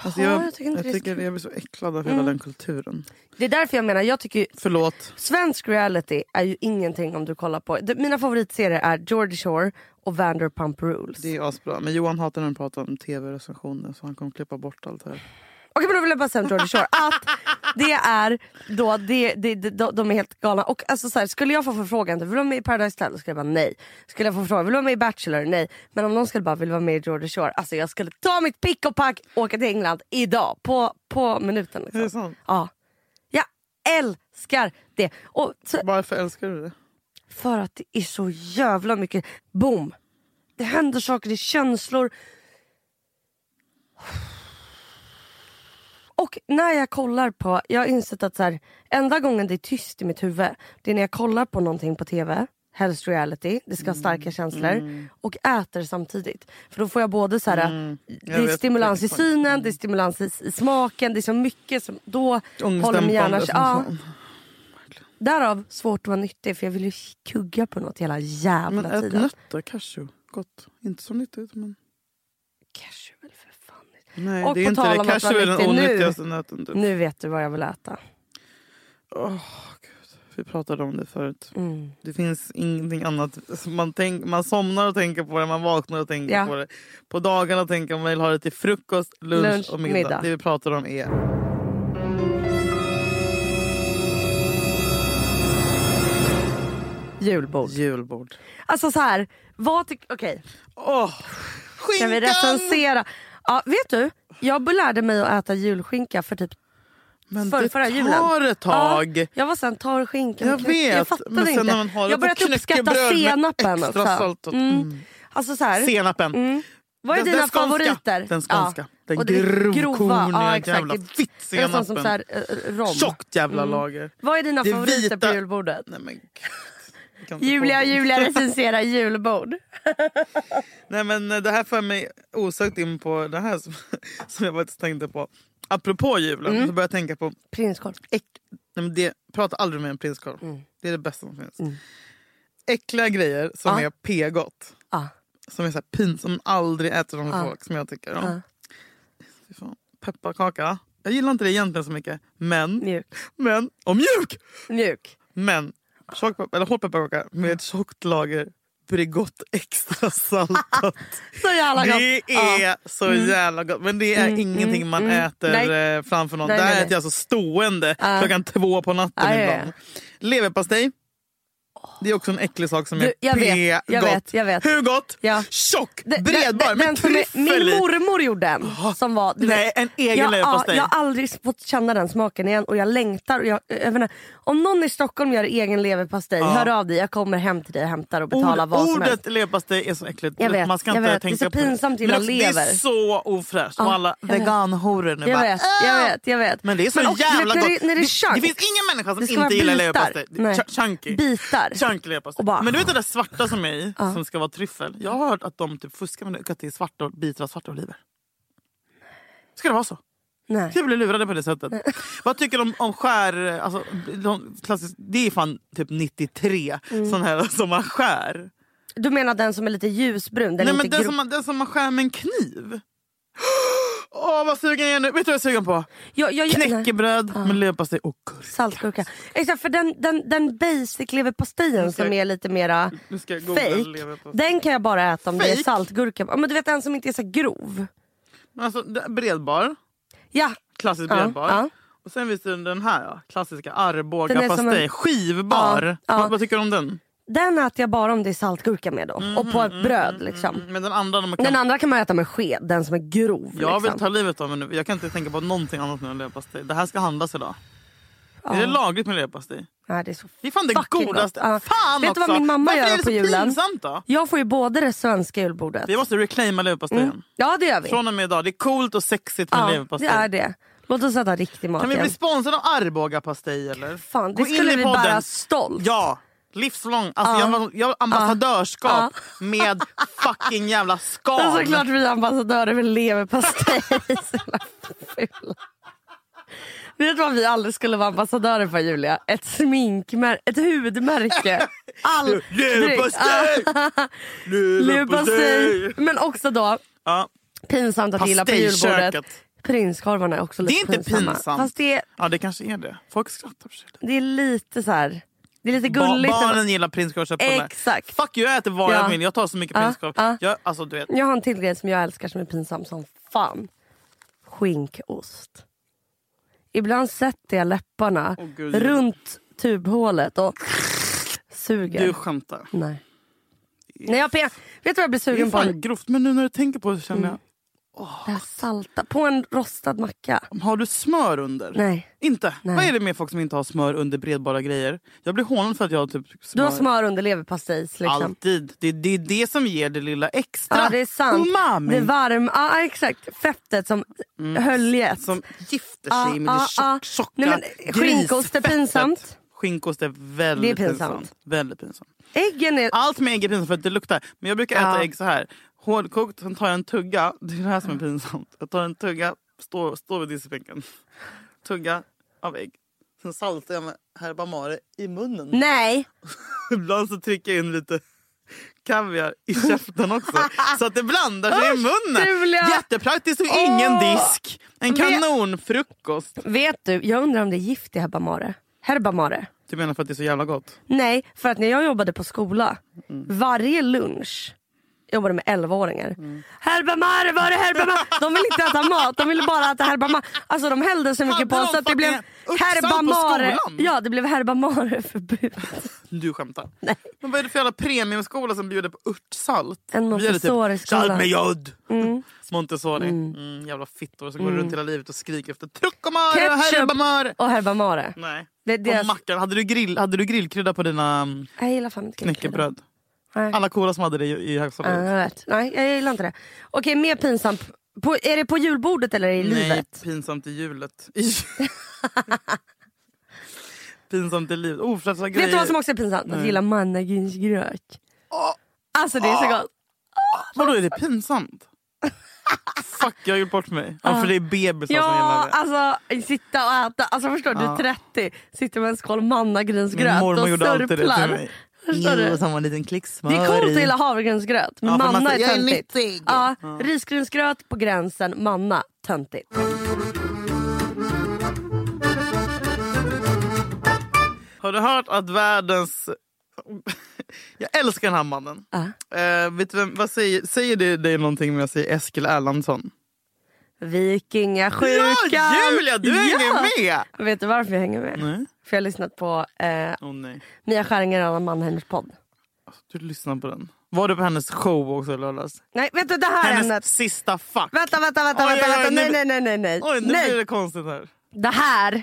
[SPEAKER 4] Alltså
[SPEAKER 3] Ja,
[SPEAKER 4] jag,
[SPEAKER 3] jag tycker inte det är så
[SPEAKER 4] tycker
[SPEAKER 3] kul. Mm.
[SPEAKER 4] jag blir så äcklad av hela den kulturen.
[SPEAKER 3] Det är därför jag menar, jag tycker ju-
[SPEAKER 4] Förlåt.
[SPEAKER 3] Svensk reality är ju ingenting om du kollar på... De, mina favoritserier är Geordie Shore och Vanderpump Rules.
[SPEAKER 4] Det är asbra. Men Johan hatar när man pratar om tv-recensioner så han kommer klippa bort allt här.
[SPEAKER 3] Okej men då vill jag bara säga om Geordie Shore att det är då, det, det, det, de, de är helt galna. Och alltså så här, skulle jag få förfrågan, vill du vara med i Paradise Hotel? Då skulle jag bara nej. Skulle jag få förfrågan, vill du vara med i Bachelor? Nej. Men om någon skulle bara, vill du vara med i Geordie Shore? Alltså jag skulle ta mitt pick och pack och åka till England idag. På, på minuten
[SPEAKER 4] Är det
[SPEAKER 3] liksom.
[SPEAKER 4] sant?
[SPEAKER 3] Ja. Jag älskar det. Och så,
[SPEAKER 4] Varför älskar du det?
[SPEAKER 3] För att det är så jävla mycket boom. Det händer saker, det är känslor. Och när jag kollar på, jag har insett att så här, enda gången det är tyst i mitt huvud det är när jag kollar på någonting på tv. Helst reality, det
[SPEAKER 4] Mm.
[SPEAKER 3] ska ha starka känslor. Och äter samtidigt. För då får jag både så här, eh, det
[SPEAKER 4] Mm. jag
[SPEAKER 3] är
[SPEAKER 4] vet
[SPEAKER 3] stimulans i
[SPEAKER 4] exakt.
[SPEAKER 3] synen, det är stimulans i, i smaken. Det är så mycket som då håller min hjärna...
[SPEAKER 4] Ångestdämpande som
[SPEAKER 3] Ja,
[SPEAKER 4] fan.
[SPEAKER 3] Därav svårt att vara nyttig för jag vill ju kugga på något hela jävla
[SPEAKER 4] Men äh, ät
[SPEAKER 3] tiden.
[SPEAKER 4] nötter, cashew. Gott. Inte så nyttigt men...
[SPEAKER 3] Cashew väl för fan.
[SPEAKER 4] Nej
[SPEAKER 3] Och
[SPEAKER 4] det är
[SPEAKER 3] på
[SPEAKER 4] inte
[SPEAKER 3] tal
[SPEAKER 4] det.
[SPEAKER 3] om att vara
[SPEAKER 4] Cashew är den
[SPEAKER 3] nyttig nu.
[SPEAKER 4] onyttigaste nöten. Typ.
[SPEAKER 3] Nu vet du vad jag vill äta.
[SPEAKER 4] Åh, Gud. Vi pratade om det förut.
[SPEAKER 3] Mm.
[SPEAKER 4] Det finns ingenting annat. Alltså, Man, tänk, man somnar och tänker på det, man vaknar och tänker
[SPEAKER 3] Ja.
[SPEAKER 4] på det. På dagarna tänker man vill ha det till frukost, lunch,
[SPEAKER 3] Lunch,
[SPEAKER 4] och middag.
[SPEAKER 3] middag.
[SPEAKER 4] Det vi pratar om är...
[SPEAKER 3] Julbord.
[SPEAKER 4] Julbord.
[SPEAKER 3] Alltså så här, vad tycker... Okej,
[SPEAKER 4] Åh!
[SPEAKER 3] ska vi
[SPEAKER 4] skinkan!
[SPEAKER 3] recensera? Ja, vet du? Jag lärde mig att äta julskinka för typ
[SPEAKER 4] Men
[SPEAKER 3] förra,
[SPEAKER 4] det
[SPEAKER 3] förra julen.
[SPEAKER 4] tar ett tag.
[SPEAKER 3] Ja, jag var sån torr skinka. med
[SPEAKER 4] Jag
[SPEAKER 3] knäck-
[SPEAKER 4] vet,
[SPEAKER 3] jag fattade
[SPEAKER 4] men sen
[SPEAKER 3] inte.
[SPEAKER 4] när man har det
[SPEAKER 3] jag
[SPEAKER 4] på
[SPEAKER 3] börjat uppskatta
[SPEAKER 4] knäckebröd med
[SPEAKER 3] senapen
[SPEAKER 4] extra
[SPEAKER 3] också.
[SPEAKER 4] salt och- mm.
[SPEAKER 3] Alltså så här,
[SPEAKER 4] Senapen.
[SPEAKER 3] vad är dina
[SPEAKER 4] Den- den skånska.
[SPEAKER 3] favoriter?
[SPEAKER 4] Den skånska. Den
[SPEAKER 3] Och det är
[SPEAKER 4] grovkorniga
[SPEAKER 3] ja, exakt.
[SPEAKER 4] jävla
[SPEAKER 3] Det är-
[SPEAKER 4] fittsenapen.
[SPEAKER 3] Det är sån som så här, eh, rom.
[SPEAKER 4] Tjockt jävla lager.
[SPEAKER 3] Vad är dina
[SPEAKER 4] Det
[SPEAKER 3] favoriter på
[SPEAKER 4] vita-
[SPEAKER 3] julbordet?
[SPEAKER 4] Nej men gud. Jag kan inte
[SPEAKER 3] Julia,
[SPEAKER 4] prata om det.
[SPEAKER 3] Julia recenserar julbord.
[SPEAKER 4] Nej men eh, det här för mig osökt in på det här som, som jag faktiskt tänkte på. Apropå julen så började jag tänka på
[SPEAKER 3] Prinskorv.
[SPEAKER 4] äck, nej men det, prata aldrig med en prinskorv. Det är det bästa som finns. Äckliga grejer som
[SPEAKER 3] Ja.
[SPEAKER 4] är p-gott.
[SPEAKER 3] Ja.
[SPEAKER 4] Som är så här pin, som man aldrig äter som folk som jag tycker om. Fy fan. Pepparkaka. Jag gillar inte det egentligen så mycket. Men,
[SPEAKER 3] Mjuk.
[SPEAKER 4] men, och mjuk!
[SPEAKER 3] Mjuk.
[SPEAKER 4] Men tjock, pep- eller hård pepparkaka med ett tjockt lager Bregott extra saltat.
[SPEAKER 3] Så jävla gott.
[SPEAKER 4] det
[SPEAKER 3] Ja. Mm.
[SPEAKER 4] är så jävla gott. Men det är ingenting man äter
[SPEAKER 3] Nej.
[SPEAKER 4] eh, framför någon.
[SPEAKER 3] Nej,
[SPEAKER 4] Där
[SPEAKER 3] nej,
[SPEAKER 4] äter
[SPEAKER 3] nej.
[SPEAKER 4] jag alltså stående klockan två på natten
[SPEAKER 3] Ja, ja, ja.
[SPEAKER 4] ibland. Leverpastej. Det är också en äcklig sak som
[SPEAKER 3] Du,
[SPEAKER 4] är
[SPEAKER 3] jag vet, jag
[SPEAKER 4] p-gott.
[SPEAKER 3] vet, jag vet.
[SPEAKER 4] Hur gott?
[SPEAKER 3] Ja.
[SPEAKER 4] Tjock,
[SPEAKER 3] Den- den-
[SPEAKER 4] bredbar
[SPEAKER 3] den- den
[SPEAKER 4] med
[SPEAKER 3] som är-
[SPEAKER 4] tryffel
[SPEAKER 3] Min
[SPEAKER 4] i.
[SPEAKER 3] mormor gjorde den. Som var, du
[SPEAKER 4] Nej,
[SPEAKER 3] vet,
[SPEAKER 4] en egen
[SPEAKER 3] jag,
[SPEAKER 4] leverpastej.
[SPEAKER 3] ja, Jag har aldrig fått känna den smaken igen och jag längtar. Och jag, jag vet inte, om någon i Stockholm gör egen leverpastej, hör av dig. Jag kommer hem till dig och hämtar och betalar
[SPEAKER 4] Ord-
[SPEAKER 3] vad som helst.
[SPEAKER 4] ordet leverpastej är så äckligt.
[SPEAKER 3] Jag vet,
[SPEAKER 4] Man ska
[SPEAKER 3] jag
[SPEAKER 4] inte
[SPEAKER 3] vet. Det är
[SPEAKER 4] tänka
[SPEAKER 3] så
[SPEAKER 4] på det.
[SPEAKER 3] pinsamt
[SPEAKER 4] Men
[SPEAKER 3] illa
[SPEAKER 4] också, Det
[SPEAKER 3] lever.
[SPEAKER 4] är så ofräscht.
[SPEAKER 3] Ja,
[SPEAKER 4] och alla
[SPEAKER 3] jag vet.
[SPEAKER 4] veganhoror nu
[SPEAKER 3] Jag
[SPEAKER 4] bara.
[SPEAKER 3] vet, jag
[SPEAKER 4] "Åh!"
[SPEAKER 3] vet, jag vet.
[SPEAKER 4] Ah! Men det är så
[SPEAKER 3] Men också-
[SPEAKER 4] jävla
[SPEAKER 3] när det-
[SPEAKER 4] gott.
[SPEAKER 3] när det är
[SPEAKER 4] det,
[SPEAKER 3] chunk.
[SPEAKER 4] finns ingen människa
[SPEAKER 3] Det ska
[SPEAKER 4] som
[SPEAKER 3] vara
[SPEAKER 4] inte gillar
[SPEAKER 3] bitar.
[SPEAKER 4] leverpastej.
[SPEAKER 3] Nej.
[SPEAKER 4] Ch- Chunky.
[SPEAKER 3] Bitar.
[SPEAKER 4] Chunk leverpastej.
[SPEAKER 3] Och bara- "Ah."
[SPEAKER 4] Men du vet det där svarta som är i, som ska vara tryffel. Jag har hört att de typ fuskar med det, att det är svarta, bitar av svarta oliver. Ska det vara så?
[SPEAKER 3] Nej.
[SPEAKER 4] Jag blir lurade på det sättet. Vad tycker du om, om skär... Alltså, de, klassiskt, det är fan typ 93
[SPEAKER 3] Mm.
[SPEAKER 4] sån här som man skär.
[SPEAKER 3] Du menar den som är lite ljusbrun? Den
[SPEAKER 4] Nej,
[SPEAKER 3] är
[SPEAKER 4] men
[SPEAKER 3] inte
[SPEAKER 4] den,
[SPEAKER 3] grå-
[SPEAKER 4] som man, den som man skär med en kniv. Åh, vad sugen jag är nu. Vet du vad jag är sugen på?
[SPEAKER 3] jag, jag, jag- nej.
[SPEAKER 4] Knäckebröd med leverpastej och gurka.
[SPEAKER 3] Saltgurka. Exakt, för den, den, den basic leverpastejen
[SPEAKER 4] ska
[SPEAKER 3] som
[SPEAKER 4] jag-
[SPEAKER 3] är lite mera
[SPEAKER 4] Nu ska jag googla
[SPEAKER 3] fake.
[SPEAKER 4] leverpastej.
[SPEAKER 3] Den kan jag bara äta om det är
[SPEAKER 4] Fake?
[SPEAKER 3] saltgurka. Ja, Men du vet den som inte är så grov.
[SPEAKER 4] Men Alltså, det- bredbar.
[SPEAKER 3] Ja,
[SPEAKER 4] Klassisk
[SPEAKER 3] Ja,
[SPEAKER 4] bredbar.
[SPEAKER 3] ja.
[SPEAKER 4] Och sen finns det den här ja, klassiska
[SPEAKER 3] Den är som
[SPEAKER 4] Arboga-pastej.
[SPEAKER 3] en-
[SPEAKER 4] Skivbar.
[SPEAKER 3] Ja, ja.
[SPEAKER 4] Vad, vad tycker du om den?
[SPEAKER 3] den äter jag bara om det är saltgurka med då. och
[SPEAKER 4] Mm,
[SPEAKER 3] på ett bröd liksom.
[SPEAKER 4] Men den andra när man kan...
[SPEAKER 3] Den andra kan man äta med sked, den som är grov.
[SPEAKER 4] jag vill
[SPEAKER 3] liksom.
[SPEAKER 4] mm. ta livet av mig nu. Jag kan inte tänka på någonting annat än leverpastej. Det här ska handlas idag. Är det lagligt med leverpastej?
[SPEAKER 3] Nej, det är så
[SPEAKER 4] Det är fan det
[SPEAKER 3] fucking gott.
[SPEAKER 4] godaste.
[SPEAKER 3] Ja.
[SPEAKER 4] Fan
[SPEAKER 3] Vet du vad
[SPEAKER 4] också!
[SPEAKER 3] min mamma
[SPEAKER 4] Varför
[SPEAKER 3] gör
[SPEAKER 4] är det
[SPEAKER 3] på
[SPEAKER 4] så
[SPEAKER 3] julen?
[SPEAKER 4] pinsamt då?
[SPEAKER 3] Jag får ju både det svenska julbordet.
[SPEAKER 4] Vi måste reclaima leverpastejen.
[SPEAKER 3] Mm. Ja det gör vi.
[SPEAKER 4] Från och med idag. Det är coolt och sexigt med
[SPEAKER 3] ja, det
[SPEAKER 4] leverpastej.
[SPEAKER 3] är det. Låt oss äta riktig mat
[SPEAKER 4] Kan vi
[SPEAKER 3] igen.
[SPEAKER 4] bli sponsrade av Arboga-pastej eller?
[SPEAKER 3] Fan, det
[SPEAKER 4] Gå in
[SPEAKER 3] skulle
[SPEAKER 4] i
[SPEAKER 3] vi
[SPEAKER 4] podden.
[SPEAKER 3] bära stolt.
[SPEAKER 4] Ja, livslång. Alltså, jag, var- jag har ambassadörskap med fucking jävla skal.
[SPEAKER 3] Men såklart vi är ambassadörer för leverpastej. Så jävla fula. Vet du vad vi aldrig skulle vara ambassadörer för Julia? Ett sminkmärke, ett hudmärke. All
[SPEAKER 4] Leverpastej!
[SPEAKER 3] Leverpastej! Men också då,
[SPEAKER 4] Ja.
[SPEAKER 3] pinsamt att gilla på julbordet.
[SPEAKER 4] Pastejköket.
[SPEAKER 3] Prinskorvarna är också
[SPEAKER 4] Det är
[SPEAKER 3] lite
[SPEAKER 4] inte
[SPEAKER 3] pinsamma.
[SPEAKER 4] pinsamt.
[SPEAKER 3] Fast det,
[SPEAKER 4] ja, det kanske är det. Folk skrattar för sig.
[SPEAKER 3] det är lite så här. det är lite
[SPEAKER 4] Ba-
[SPEAKER 3] gulligt.
[SPEAKER 4] barnen gillar prinskorvsköttbullar.
[SPEAKER 3] Exakt.
[SPEAKER 4] Fuck you, jag äter vad
[SPEAKER 3] Ja.
[SPEAKER 4] jag vill. Jag tar så mycket
[SPEAKER 3] Ja,
[SPEAKER 4] prinskorv.
[SPEAKER 3] ja.
[SPEAKER 4] Jag, alltså, du vet.
[SPEAKER 3] Jag har en till grej som jag älskar som är pinsam som fan. Skinkost. Ibland sätter jag läpparna
[SPEAKER 4] Åh, gud.
[SPEAKER 3] runt tubhålet och suger.
[SPEAKER 4] Du skämtar.
[SPEAKER 3] Nej. Nej jag, pe- vet du vad jag blir
[SPEAKER 4] Det är
[SPEAKER 3] sugen på?
[SPEAKER 4] fan grovt. Men nu när du tänker på det så känner jag.
[SPEAKER 3] Det här salta. På en rostad macka.
[SPEAKER 4] Har du smör under?
[SPEAKER 3] Mm. Nej.
[SPEAKER 4] Inte?
[SPEAKER 3] Nej.
[SPEAKER 4] Vad är det med folk som inte har smör under bredbara grejer? Jag blir hånad för att jag har typ smör.
[SPEAKER 3] Du har smör under leverpastej. Liksom.
[SPEAKER 4] Alltid. Det, det är det som ger det lilla extra.
[SPEAKER 3] Ja det är sant.
[SPEAKER 4] Umami. Mm.
[SPEAKER 3] Det varm, ja exakt. Fettet som höljet.
[SPEAKER 4] Som gifter sig
[SPEAKER 3] Ah,
[SPEAKER 4] med
[SPEAKER 3] ah,
[SPEAKER 4] det
[SPEAKER 3] ah.
[SPEAKER 4] tjock, tjocka
[SPEAKER 3] Nej, men skinkost är
[SPEAKER 4] grisfettet.
[SPEAKER 3] pinsamt.
[SPEAKER 4] Skinkost är väldigt
[SPEAKER 3] Det är pinsamt.
[SPEAKER 4] Väldigt pinsamt.
[SPEAKER 3] Äggen är...
[SPEAKER 4] Allt med ägg är pinsamt för att det luktar. Men jag brukar äta
[SPEAKER 3] Ja.
[SPEAKER 4] ägg så här. Hårdkokt, sen tar jag en tugga. Det är det här som är
[SPEAKER 3] Mm.
[SPEAKER 4] pinsamt. Jag tar en tugga, står står vid diskbänken. Tugga av ägg. Sen saltar jag med herba mare i munnen.
[SPEAKER 3] Nej.
[SPEAKER 4] Ibland så trycker jag in lite kaviar i käften också. så att det blandar sig i munnen.
[SPEAKER 3] Julia!
[SPEAKER 4] Jättepraktiskt och ingen
[SPEAKER 3] Åh!
[SPEAKER 4] disk. En kanonfrukost.
[SPEAKER 3] Vet du, jag undrar om det är gift i herbamare. Herbamare.
[SPEAKER 4] Du Typ menar för att det är så jävla gott?
[SPEAKER 3] Nej, för att när jag jobbade på skola, varje lunch jag jobbade med 11-åringar. Herbamare, var är herbamare? De ville inte äta mat, de ville bara äta herbamare. Alltså de hällde så mycket
[SPEAKER 4] Hade
[SPEAKER 3] på
[SPEAKER 4] de
[SPEAKER 3] så att det blev
[SPEAKER 4] fucking uppsal på
[SPEAKER 3] herbamare.
[SPEAKER 4] skolan?
[SPEAKER 3] Ja, det blev herbamareförbud.
[SPEAKER 4] Du skämtar.
[SPEAKER 3] Nej.
[SPEAKER 4] Men vad är det för jävla premiumskola som bjuder på örtsalt?
[SPEAKER 3] En
[SPEAKER 4] Vi hade typ
[SPEAKER 3] Montessori-skola.
[SPEAKER 4] Salt med jod. Montessori. Mm. jävla fittor som går runt hela livet och skriker efter truckomare och
[SPEAKER 3] Mm. Ketchup
[SPEAKER 4] herrebamare.
[SPEAKER 3] och herbamare.
[SPEAKER 4] Nej.
[SPEAKER 3] Det är deras-
[SPEAKER 4] Och mackan. Hade du, grill, hade du grillkrydda på dina mm,
[SPEAKER 3] Jag gillar fan inte
[SPEAKER 4] knäckebröd?
[SPEAKER 3] Nej. Eh,
[SPEAKER 4] Alla coola som hade det i, i högstadiet.
[SPEAKER 3] Ja, jag vet. Nej, jag gillar inte det. Okej, mer pinsamt. På, är det på julbordet eller i livet?
[SPEAKER 4] Nej, pinsamt i hjulet. I jul- pinsamt i livet. Ofräscha grejer.
[SPEAKER 3] Vet du vad som också är pinsamt? Att gilla mannagrynsgrök. Alltså det är så gott.
[SPEAKER 4] Vadå, är det pinsamt? Fuck, jag har gjort bort mig. Ja, för det är bebisar som
[SPEAKER 3] Ja,
[SPEAKER 4] gillar det.
[SPEAKER 3] alltså sitta och äta. Alltså förstår du, du är 30, sitter med en skål
[SPEAKER 4] Min
[SPEAKER 3] mannagrynsgröt och
[SPEAKER 4] mormor gjorde alltid det till
[SPEAKER 3] sörplar.
[SPEAKER 4] mig.
[SPEAKER 3] Förstår du?
[SPEAKER 4] som en liten klick smör
[SPEAKER 3] Det är coolt
[SPEAKER 4] i.
[SPEAKER 3] att gilla havregrynsgröt, men
[SPEAKER 4] Ja, för man
[SPEAKER 3] manna är
[SPEAKER 4] säger, "Jag är
[SPEAKER 3] töntigt.
[SPEAKER 4] nyttig."
[SPEAKER 3] Ja, risgrynsgröt på gränsen, manna töntigt.
[SPEAKER 4] Har du hört att världens... Jag älskar den här mannen. Eh, vet du vem, vad säger, säger det dig någonting om jag säger Eskil Erlandsson?
[SPEAKER 3] Vikingasjukan!
[SPEAKER 4] Ja, Julia, du hänger med!
[SPEAKER 3] Vet du varför jag hänger med?
[SPEAKER 4] Nej.
[SPEAKER 3] För jag har lyssnat på eh,
[SPEAKER 4] Åh nej.
[SPEAKER 3] Mia Skäringer och Anna Mannheimers podd.
[SPEAKER 4] Du lyssnar på den. Var du på hennes show också i lördags?
[SPEAKER 3] Nej, vet du det här
[SPEAKER 4] Hennes
[SPEAKER 3] ämnet.
[SPEAKER 4] sista fuck.
[SPEAKER 3] Vänta, vänta, vänta.
[SPEAKER 4] Oj,
[SPEAKER 3] vänta,
[SPEAKER 4] oj, oj,
[SPEAKER 3] vänta. Nej,
[SPEAKER 4] nu-
[SPEAKER 3] nej, nej, nej. nej.
[SPEAKER 4] Oj, nu
[SPEAKER 3] nej.
[SPEAKER 4] blir det konstigt här.
[SPEAKER 3] det här.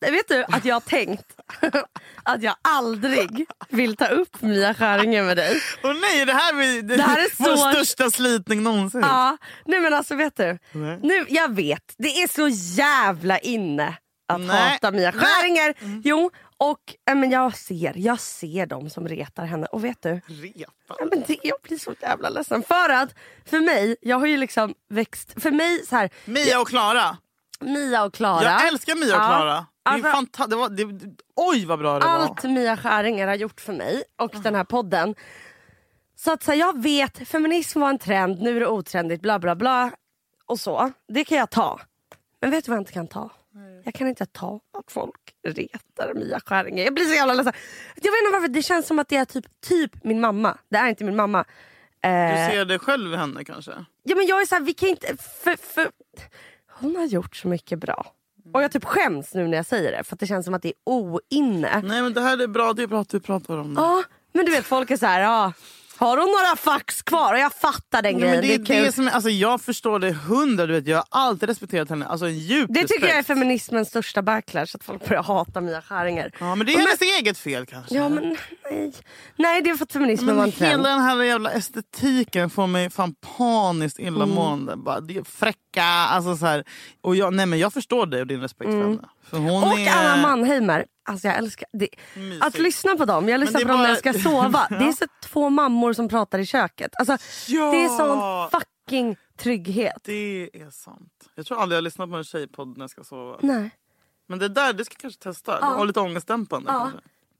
[SPEAKER 3] Vet du att jag har tänkt att jag aldrig vill ta upp Mia Skäringer med dig?
[SPEAKER 4] Åh nej, det här, blir, det,
[SPEAKER 3] Det här är
[SPEAKER 4] är vår
[SPEAKER 3] så-
[SPEAKER 4] största slitning någonsin.
[SPEAKER 3] Ja, nej men alltså vet du.
[SPEAKER 4] Nej.
[SPEAKER 3] Nu, jag vet, det är så jävla inne att
[SPEAKER 4] Nej.
[SPEAKER 3] hata Mia
[SPEAKER 4] Nej. Mm.
[SPEAKER 3] Skäringer. Jo, och äh, men jag ser, jag ser dem som retar henne. Och vet du,
[SPEAKER 4] Repa.
[SPEAKER 3] Ja, men det, jag blir så jävla ledsen. För att för mig, jag har ju liksom växt... För mig så här,
[SPEAKER 4] Mia och Klara.
[SPEAKER 3] Mia och Klara.
[SPEAKER 4] Jag älskar Mia och
[SPEAKER 3] Ja.
[SPEAKER 4] Klara. Det är
[SPEAKER 3] Alltså-
[SPEAKER 4] fanta- det var, det, oj vad bra det
[SPEAKER 3] Allt
[SPEAKER 4] var.
[SPEAKER 3] Mia Skäringer har gjort för mig och den här podden. Så att så här, jag vet, feminism var en trend, nu är det otrendigt, bla bla bla. Och så. Det kan jag ta. Men vet du vad jag inte kan ta? Jag kan inte ta att folk retar Mia Skäringer. Jag blir så jävla ledsen. Jag vet inte varför, det känns som att det är typ, typ min mamma. Det är inte min mamma.
[SPEAKER 4] Du
[SPEAKER 3] Eh,
[SPEAKER 4] ser det själv i henne kanske?
[SPEAKER 3] Ja men jag är så här, vi kan inte... För, för... Hon har gjort så mycket bra. Och jag typ skäms nu när jag säger det för att det känns som att det är oinne.
[SPEAKER 4] Nej men det här är bra, det är bra att du pratar om det.
[SPEAKER 3] Ja, men du vet folk är så här, ja. Har hon några fax kvar? Och jag fattar den
[SPEAKER 4] Ja,
[SPEAKER 3] grejen.
[SPEAKER 4] men det, är
[SPEAKER 3] kul.
[SPEAKER 4] det som är, alltså, jag förstår det hundra, du vet, jag har alltid respekterat henne. Alltså en djup
[SPEAKER 3] det tycker jag är
[SPEAKER 4] respekt.
[SPEAKER 3] feminismens största backlash, att folk börjar hata Mia Skäringer.
[SPEAKER 4] Ja, men det är hennes eget fel kanske.
[SPEAKER 3] Ja men nej. Nej det är för att feminismen
[SPEAKER 4] Men
[SPEAKER 3] var en
[SPEAKER 4] hela
[SPEAKER 3] trend.
[SPEAKER 4] den här jävla estetiken får mig fan paniskt illamående.
[SPEAKER 3] Mm.
[SPEAKER 4] Bara, det är fräcka, alltså så här. Och jag, nej, men jag förstår dig och din respekt för henne. För
[SPEAKER 3] Mm.
[SPEAKER 4] hon
[SPEAKER 3] Och
[SPEAKER 4] är,
[SPEAKER 3] Anna Mannheimer. Alltså jag älskar det.
[SPEAKER 4] Mysigt.
[SPEAKER 3] Att lyssna på dem. Jag lyssnar
[SPEAKER 4] det
[SPEAKER 3] på
[SPEAKER 4] är
[SPEAKER 3] dem när jag
[SPEAKER 4] bara-
[SPEAKER 3] ska sova. Det är så två mammor som pratar i köket. Alltså,
[SPEAKER 4] Ja!
[SPEAKER 3] Det är sån fucking trygghet.
[SPEAKER 4] Det är sant. Jag tror aldrig jag lyssnar på en tjejpodd när jag ska sova.
[SPEAKER 3] Nej.
[SPEAKER 4] Men det där, det ska jag kanske testa.
[SPEAKER 3] Ja.
[SPEAKER 4] Och lite ångestdämpande
[SPEAKER 3] Ja.
[SPEAKER 4] kanske.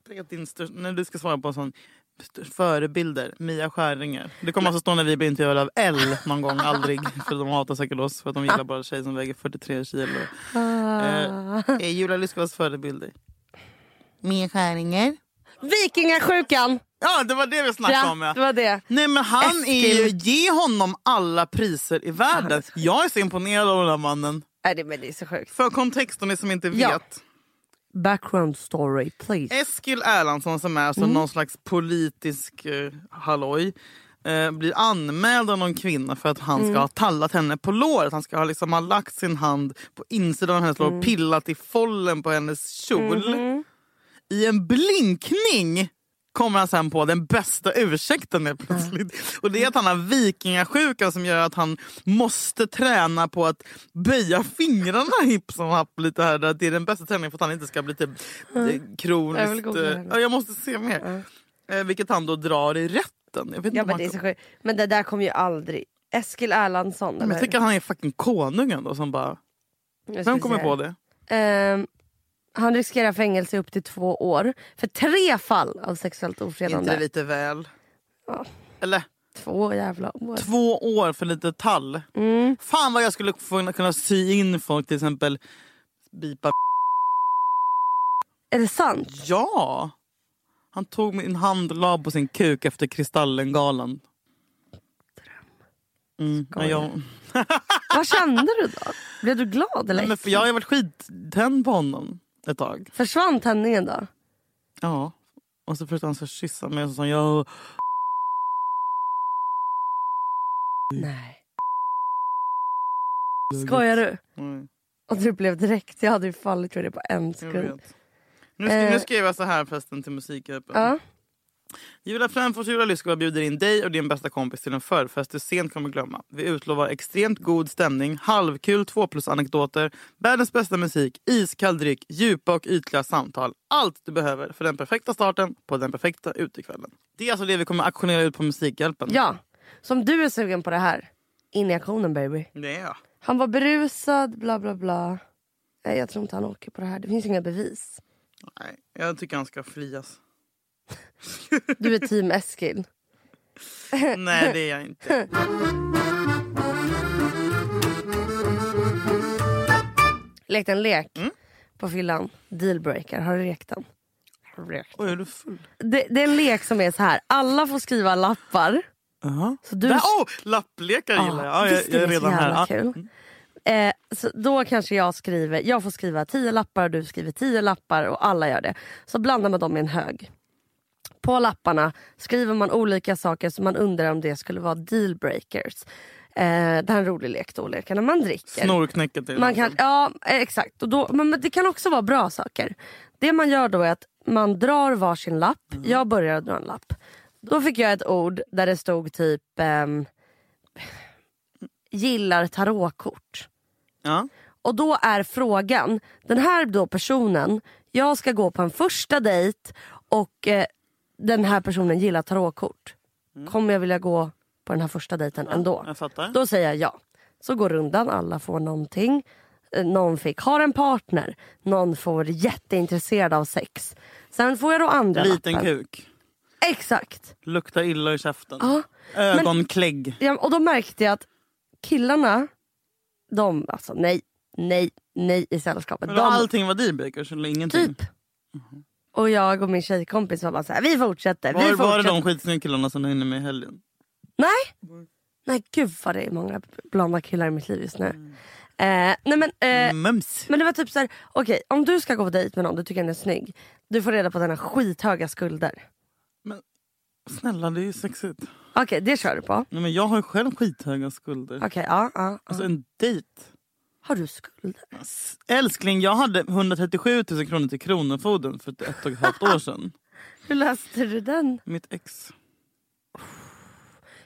[SPEAKER 4] Tänk att din största- när du ska svara på en sån st- förebilder, Mia Skäringer. Det kommer alltså stå när vi blir intervjuade av L någon gång, aldrig. För de hatar säkert oss för att de gillar bara tjejer som väger 43 kilo.
[SPEAKER 3] Ah.
[SPEAKER 4] Eh, är Julia Lyskos förebilder? Mia Skäringer.
[SPEAKER 3] Vikingasjukan!
[SPEAKER 4] Ja, det var det vi snackade om.
[SPEAKER 3] Ja, det var det.
[SPEAKER 4] Nej men han
[SPEAKER 3] Eskil.
[SPEAKER 4] är ju, ge honom alla priser i världen. Jag är så imponerad av den här mannen.
[SPEAKER 3] Nej, det, men det är så sjukt.
[SPEAKER 4] För kontexten, ni som inte vet.
[SPEAKER 3] Ja. Background story please.
[SPEAKER 4] Eskil Erlandsson som är alltså någon slags politisk eh, halloj eh, blir anmäld av någon kvinna för att han ska ha tallat henne på låret. Han ska ha, liksom, ha lagt sin hand på insidan av hennes lår och pillat i follen på hennes kjol. I en blinkning kommer han sen på den bästa ursäkten helt plötsligt.
[SPEAKER 3] Mm.
[SPEAKER 4] Och det är att han har vikingasjukan som gör att han måste träna på att böja fingrarna hipp som happ lite här. Att Det är den bästa träningen för att han inte ska bli typ eh,
[SPEAKER 3] Mm. Jag vill
[SPEAKER 4] kroniskt...
[SPEAKER 3] googla
[SPEAKER 4] eh,
[SPEAKER 3] henne.
[SPEAKER 4] Ja, jag måste se mer. Eh, Vilket han då drar i rätten. Jag vet inte
[SPEAKER 3] Mm. Ja,
[SPEAKER 4] om
[SPEAKER 3] men,
[SPEAKER 4] han
[SPEAKER 3] det är
[SPEAKER 4] kom-
[SPEAKER 3] så sjukt. men det där kommer ju aldrig... Eskil Erlandsson.
[SPEAKER 4] men
[SPEAKER 3] eller?
[SPEAKER 4] jag tycker att han är fucking konungen då som bara...
[SPEAKER 3] Jag ska
[SPEAKER 4] Vem kommer
[SPEAKER 3] se.
[SPEAKER 4] på det?
[SPEAKER 3] Ehm, han riskerar fängelse upp till två år för tre fall av sexuellt
[SPEAKER 4] Inte
[SPEAKER 3] ofredande.
[SPEAKER 4] det lite väl?
[SPEAKER 3] Ja.
[SPEAKER 4] Eller?
[SPEAKER 3] Två jävla år.
[SPEAKER 4] två år för lite tall.
[SPEAKER 3] Mm.
[SPEAKER 4] Fan vad jag skulle få- kunna sy in folk till exempel. Bipa.
[SPEAKER 3] Är det sant?
[SPEAKER 4] Ja! Han tog min hand och la på sin kuk efter Kristallengalan. Mm, ja, jag,
[SPEAKER 3] Vad kände du då? Blev du glad eller?
[SPEAKER 4] nej, men för jag har ju varit skittänd på honom ett tag.
[SPEAKER 3] Försvann tändningen då?
[SPEAKER 4] Ja. Och så försökte han så kyssa mig och så sa han, jag...
[SPEAKER 3] Nej. Skojar du?
[SPEAKER 4] Nej,
[SPEAKER 3] Och du blev direkt. Jag hade ju fallit för det på en
[SPEAKER 4] mm, jag
[SPEAKER 3] sekund.
[SPEAKER 4] vet. Nu, sk- nu
[SPEAKER 3] Eh.
[SPEAKER 4] skrev jag så här förresten till Musikhjälpen.
[SPEAKER 3] Ja.
[SPEAKER 4] Julia Fränfors och Julia Lyskova bjuder in dig och din bästa kompis till en förfest du sent kommer glömma. Vi utlovar extremt god stämning, halvkul två plus anekdoter, världens bästa musik, iskall dryck, djupa och ytliga samtal. Allt du behöver för den perfekta starten på den perfekta utekvällen. Det är alltså det vi kommer aktionera ut på Musikhjälpen.
[SPEAKER 3] ja. Så om du är sugen på det här. In i aktionen baby.
[SPEAKER 4] Det är jag.
[SPEAKER 3] Han var berusad, bla bla bla. Nej jag tror inte han åker på det här. Det finns inga bevis.
[SPEAKER 4] Nej, jag tycker han ska frias.
[SPEAKER 3] Du är team Eskil.
[SPEAKER 4] Nej, det är jag inte.
[SPEAKER 3] Lekt en lek på fyllan. Dealbreaker. Har du lekt den?
[SPEAKER 4] Oj, är du full?
[SPEAKER 3] Det, det är en lek som är så här. Alla får skriva lappar.
[SPEAKER 4] Uh-huh.
[SPEAKER 3] Så du...
[SPEAKER 4] Där, oh, lapplekar
[SPEAKER 3] Ja,
[SPEAKER 4] gillar jag. Ja, jag,
[SPEAKER 3] Ah, visst är
[SPEAKER 4] jag är
[SPEAKER 3] det så
[SPEAKER 4] redan
[SPEAKER 3] jävla
[SPEAKER 4] här. Ja. Mm.
[SPEAKER 3] kul? Eh, så då kanske jag skriver, jag får skriva tio lappar och du skriver tio lappar och alla gör det. Så blandar man dem i en hög. På lapparna skriver man olika saker som man undrar om det skulle vara dealbreakers. Eh, det här är en rolig lek då, leka när man dricker.
[SPEAKER 4] Snorknäcket till
[SPEAKER 3] Man kan, ja, eh, exakt. Och då, men men det kan också vara bra saker. Det man gör då är att man drar varsin lapp. Jag börjar dra en lapp. Då fick jag ett ord där det stod typ ehm, gillar tarotkort.
[SPEAKER 4] Ja.
[SPEAKER 3] Och då är frågan, den här då personen, jag ska gå på en första dejt och eh, den här personen gillar tarotkort. Kommer jag vilja gå på den här första dejten ändå?
[SPEAKER 4] jag fattar.
[SPEAKER 3] Då säger jag ja. Så går rundan, alla får någonting. Eh, Någon fick, har en partner. Någon får jätteintresserad av sex. Sen får jag då andra
[SPEAKER 4] Liten
[SPEAKER 3] lappen.
[SPEAKER 4] kuk.
[SPEAKER 3] Exakt.
[SPEAKER 4] Luktar illa i käften.
[SPEAKER 3] Ja.
[SPEAKER 4] Ögonklägg.
[SPEAKER 3] Ja, och då märkte jag att killarna, de alltså nej, nej, nej i sällskapet.
[SPEAKER 4] Men...
[SPEAKER 3] de,
[SPEAKER 4] Allting var dealbreakers eller ingenting?
[SPEAKER 3] Typ. Och jag och min tjejkompis var bara såhär, vi fortsätter, vi
[SPEAKER 4] Var,
[SPEAKER 3] fortsätter.
[SPEAKER 4] var det de skitsnygga killarna som du hängde med i helgen?
[SPEAKER 3] Nej! Nej gud vad det är många blonda killar i mitt liv just nu.
[SPEAKER 4] Mm.
[SPEAKER 3] Eh, nej men, eh,
[SPEAKER 4] Mums.
[SPEAKER 3] men det var typ såhär, okej om du ska gå på dejt med någon du tycker han är snygg. Du får reda på att han har skithöga skulder.
[SPEAKER 4] Snälla det är ju sexigt.
[SPEAKER 3] Okej det kör du på.
[SPEAKER 4] Nej, men jag har ju själv skithöga skulder.
[SPEAKER 3] Okej ja, ja, ja.
[SPEAKER 4] Alltså en dejt.
[SPEAKER 3] Har du skulder?
[SPEAKER 4] S- Älskling jag hade 137 000 kronor till Kronofogden för ett och ett halvt år sedan.
[SPEAKER 3] Hur löste du den?
[SPEAKER 4] Mitt ex.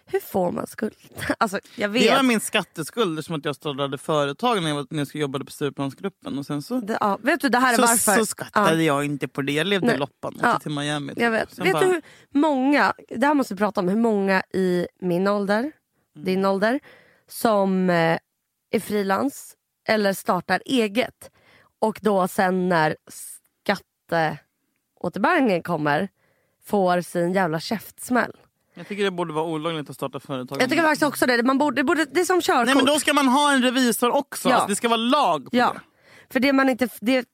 [SPEAKER 3] Hur får man skuld? Alltså jag vet.
[SPEAKER 4] Det var min skatteskuld som att jag startade företag när jag, var- när jag jobbade på Stureplansgruppen. Och sen så
[SPEAKER 3] det, ja. Vet du det här är
[SPEAKER 4] Så,
[SPEAKER 3] varför.
[SPEAKER 4] så skattade
[SPEAKER 3] Ja.
[SPEAKER 4] jag inte på det. Jag levde
[SPEAKER 3] Nej.
[SPEAKER 4] loppan och
[SPEAKER 3] Ja.
[SPEAKER 4] åkte till Miami. typ.
[SPEAKER 3] Jag vet.
[SPEAKER 4] Sen
[SPEAKER 3] Vet
[SPEAKER 4] bara,
[SPEAKER 3] du hur många, det här måste vi prata om, hur många i min ålder,
[SPEAKER 4] Mm.
[SPEAKER 3] din ålder, som eh, är frilans eller startar eget och då sen när skatteåterbäringen kommer får sin jävla käftsmäll.
[SPEAKER 4] Jag tycker det borde vara olagligt att starta företag.
[SPEAKER 3] Jag tycker faktiskt också det, man borde, det, borde, det är som körkort.
[SPEAKER 4] Mm. Nej men då ska man ha en revisor också.
[SPEAKER 3] Ja.
[SPEAKER 4] Alltså, det ska vara lag på
[SPEAKER 3] ja.
[SPEAKER 4] det.
[SPEAKER 3] För det man inte, det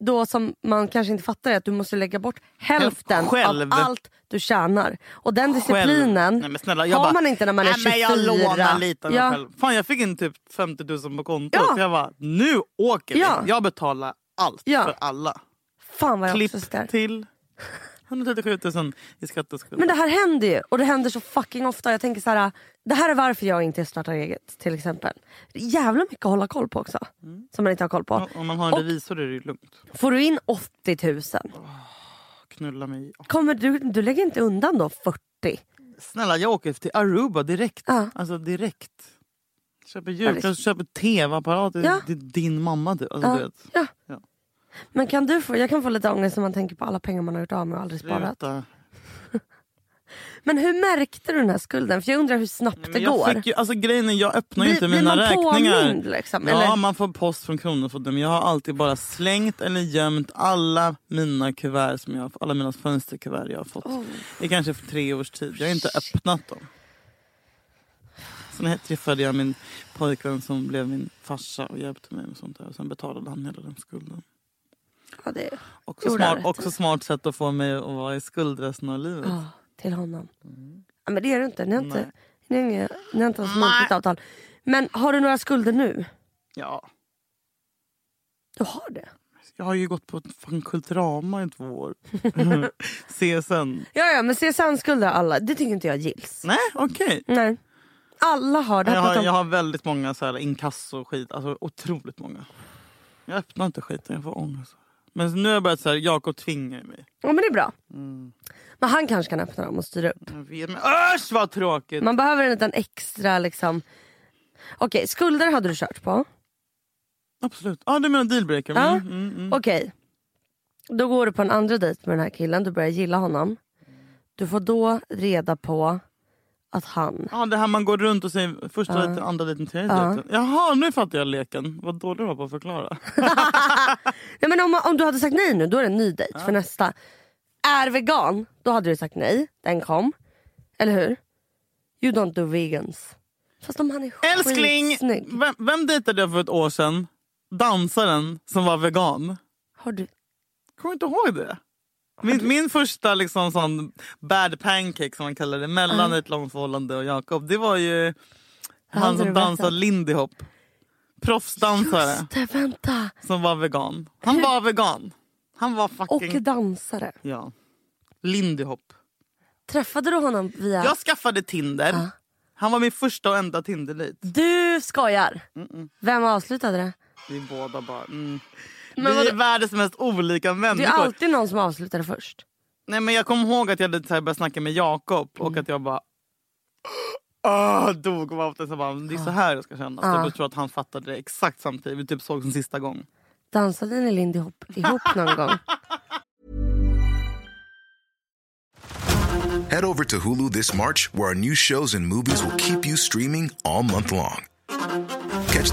[SPEAKER 3] då som man kanske inte fattar är att du måste lägga bort hälften
[SPEAKER 4] Själv.
[SPEAKER 3] av allt du tjänar. Och den
[SPEAKER 4] Själv.
[SPEAKER 3] disciplinen
[SPEAKER 4] Nej, men snälla,
[SPEAKER 3] har
[SPEAKER 4] bara,
[SPEAKER 3] man inte när man är
[SPEAKER 4] nej,
[SPEAKER 3] 24.
[SPEAKER 4] men jag lånar lite av mig
[SPEAKER 3] ja.
[SPEAKER 4] själv. Fan jag fick in typ 50 000 på kontot.
[SPEAKER 3] Ja.
[SPEAKER 4] Jag bara, nu åker vi.
[SPEAKER 3] Ja.
[SPEAKER 4] Jag betalar allt
[SPEAKER 3] Ja.
[SPEAKER 4] för alla.
[SPEAKER 3] Fan vad jag också
[SPEAKER 4] Klipp
[SPEAKER 3] skrattar.
[SPEAKER 4] till 137 000 i skatteskuld.
[SPEAKER 3] Men det här händer ju och det händer så fucking ofta. Jag tänker så här, det här är varför jag inte startar eget till exempel. Det är jävla mycket att hålla koll på också. Som man inte har koll på.
[SPEAKER 4] Mm. Ja, Om man har en
[SPEAKER 3] Och-
[SPEAKER 4] revisor är det ju lugnt.
[SPEAKER 3] Får du in 80 000,
[SPEAKER 4] Knulla mig.
[SPEAKER 3] kommer du, du lägger inte undan då 40?
[SPEAKER 4] Snälla jag åker till Aruba direkt.
[SPEAKER 3] Ja.
[SPEAKER 4] Alltså direkt. Köper
[SPEAKER 3] Ja,
[SPEAKER 4] julklappar,
[SPEAKER 3] det-
[SPEAKER 4] köper tv-apparat. Det-
[SPEAKER 3] Ja.
[SPEAKER 4] Det är din mamma du. Alltså,
[SPEAKER 3] Ja.
[SPEAKER 4] du vet.
[SPEAKER 3] Ja.
[SPEAKER 4] Ja.
[SPEAKER 3] Men kan du få, jag kan få lite ångest när man tänker på alla pengar man har gjort av med och aldrig sparat.
[SPEAKER 4] Sluta.
[SPEAKER 3] Men hur märkte du den här skulden? För jag undrar hur snabbt
[SPEAKER 4] Men
[SPEAKER 3] det
[SPEAKER 4] jag
[SPEAKER 3] går.
[SPEAKER 4] Fick ju, alltså, grejen är jag öppnar ju
[SPEAKER 3] Blir-
[SPEAKER 4] inte
[SPEAKER 3] blir
[SPEAKER 4] mina
[SPEAKER 3] man
[SPEAKER 4] räkningar.
[SPEAKER 3] påmind, liksom,
[SPEAKER 4] ja,
[SPEAKER 3] eller?
[SPEAKER 4] man får post från Kronofogden. Men jag har alltid bara slängt eller gömt alla mina kuvert som jag har, alla mina fönsterkuvert jag har fått.
[SPEAKER 3] Oh.
[SPEAKER 4] I kanske för tre års tid. Jag har inte öppnat dem. Sen här träffade jag min pojkvän som blev min farsa och hjälpte mig med sånt där. Och sen betalade han hela den skulden.
[SPEAKER 3] Ja, det,
[SPEAKER 4] Också,
[SPEAKER 3] Gjorde
[SPEAKER 4] smart,
[SPEAKER 3] rätt.
[SPEAKER 4] också smart sätt att få mig att vara i skuld resten av livet.
[SPEAKER 3] Ja, till honom. Ja, men det är du inte. Ni har inte, ni
[SPEAKER 4] Nej.
[SPEAKER 3] har inga, ni har inte ens muntligt avtal. Men har du några skulder nu?
[SPEAKER 4] Ja.
[SPEAKER 3] Du har det?
[SPEAKER 4] Jag har ju gått på ett fan Kulturama i två år. CSN.
[SPEAKER 3] Ja, ja men CSN-skulder har alla. Det tycker inte jag gills.
[SPEAKER 4] Nej, okej.
[SPEAKER 3] Nej. Alla har det.
[SPEAKER 4] Jag,
[SPEAKER 3] Här
[SPEAKER 4] har-
[SPEAKER 3] pratar
[SPEAKER 4] jag
[SPEAKER 3] om-
[SPEAKER 4] har väldigt många så här inkasso och skit. Alltså otroligt många. Jag öppnar inte skiten, jag får ångest. Men nu har jag börjat så här, Jakob tvingar mig.
[SPEAKER 3] Ja, men det är bra.
[SPEAKER 4] Mm.
[SPEAKER 3] Men han kanske kan öppna dem och styra upp.
[SPEAKER 4] Jag vet, men Usch vad tråkigt!
[SPEAKER 3] Man behöver en liten extra liksom... Okej, skulder hade du kört på.
[SPEAKER 4] Absolut. Ja, du menar dealbreaker?
[SPEAKER 3] Ja.
[SPEAKER 4] Mm, mm, mm.
[SPEAKER 3] Okej. Då går du på en andra dejt med den här killen. Du börjar gilla honom. Du får då reda på att han...
[SPEAKER 4] Ja, det här man går runt och säger första dejten, andra dejten, tredje dejten. Jaha, nu fattar jag leken. Vad dålig du var på att förklara.
[SPEAKER 3] Nej, men om, man- om du hade sagt nej nu, då är det en ny dejt för nästa. Är vegan, då hade du sagt nej. Den kom. Eller hur? You don't do vegans. Fast om han är
[SPEAKER 4] Älskling!
[SPEAKER 3] skitsnygg.
[SPEAKER 4] Vem, vem dejtade jag för ett år sedan? Dansaren som var vegan.
[SPEAKER 3] Har du...
[SPEAKER 4] Kommer du inte ihåg det? Min, min första liksom sån bad pancake som man kallar det mellan ett långförhållande och Jakob det var ju han
[SPEAKER 3] hade
[SPEAKER 4] som
[SPEAKER 3] du
[SPEAKER 4] dansade
[SPEAKER 3] berättat.
[SPEAKER 4] lindy hop. Proffsdansare
[SPEAKER 3] Just det, vänta.
[SPEAKER 4] som var vegan. Han var vegan. Han var
[SPEAKER 3] Och
[SPEAKER 4] fucking...
[SPEAKER 3] dansare.
[SPEAKER 4] Ja. Lindy hop.
[SPEAKER 3] Träffade du honom via...
[SPEAKER 4] Jag skaffade Tinder. Han var min första och enda Tinder-dejt.
[SPEAKER 3] Du skojar! Vem avslutade det?
[SPEAKER 4] Vi båda bara... Mm.
[SPEAKER 3] Men
[SPEAKER 4] vi är
[SPEAKER 3] vadå?
[SPEAKER 4] världens mest olika
[SPEAKER 3] Det
[SPEAKER 4] människor.
[SPEAKER 3] är alltid någon som avslutar det först.
[SPEAKER 4] Nej, men jag kommer ihåg att jag hade så här börjat snacka med Jakob
[SPEAKER 3] Mm.
[SPEAKER 4] och att jag bara... Åh, dog av det. Så bara, det
[SPEAKER 3] Ah.
[SPEAKER 4] är så här jag ska känna. Så jag tror att han fattade det exakt samtidigt. Vi typ såg en sista gång.
[SPEAKER 3] Dansade ni Lindy Hop ihop någon gång?
[SPEAKER 1] Head over to Hulu this March, where our new shows and movies will keep you streaming all month long. Catch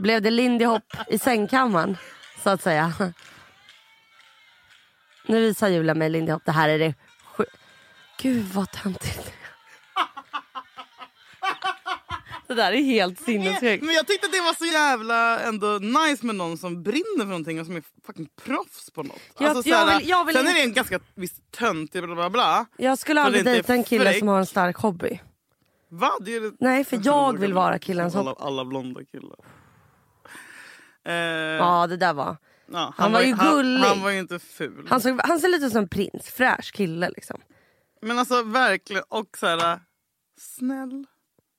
[SPEAKER 3] Blev det Lindy Hop i sängkammaren? Så att säga. Nu visar Julia mig Lindy Hop. Det här är det sju... Gud vad töntigt. Det där är helt sinnessjukt.
[SPEAKER 4] Men jag tyckte att det var så jävla ändå nice med någon som brinner för någonting och som är fucking proffs på något.
[SPEAKER 3] Jag- jag
[SPEAKER 4] såhär,
[SPEAKER 3] vill- jag vill
[SPEAKER 4] sen är
[SPEAKER 3] inte-
[SPEAKER 4] det en ganska visst töntig bla bla bla.
[SPEAKER 3] Jag skulle
[SPEAKER 4] För
[SPEAKER 3] aldrig
[SPEAKER 4] det är inte
[SPEAKER 3] dejta en kille
[SPEAKER 4] fräckt.
[SPEAKER 3] som har en stark hobby.
[SPEAKER 4] Va? Det är det...
[SPEAKER 3] Nej, för jag vill vara killens
[SPEAKER 4] alla,
[SPEAKER 3] hopp.
[SPEAKER 4] alla blonda killar. Eh,
[SPEAKER 3] Ja, det där var.
[SPEAKER 4] ja, han,
[SPEAKER 3] var ju
[SPEAKER 4] Han,
[SPEAKER 3] gullig.
[SPEAKER 4] han var ju inte ful.
[SPEAKER 3] Han, såg, han ser lite ut som en prins. Fräsch kille liksom.
[SPEAKER 4] Men alltså verkligen. Och så här, snäll.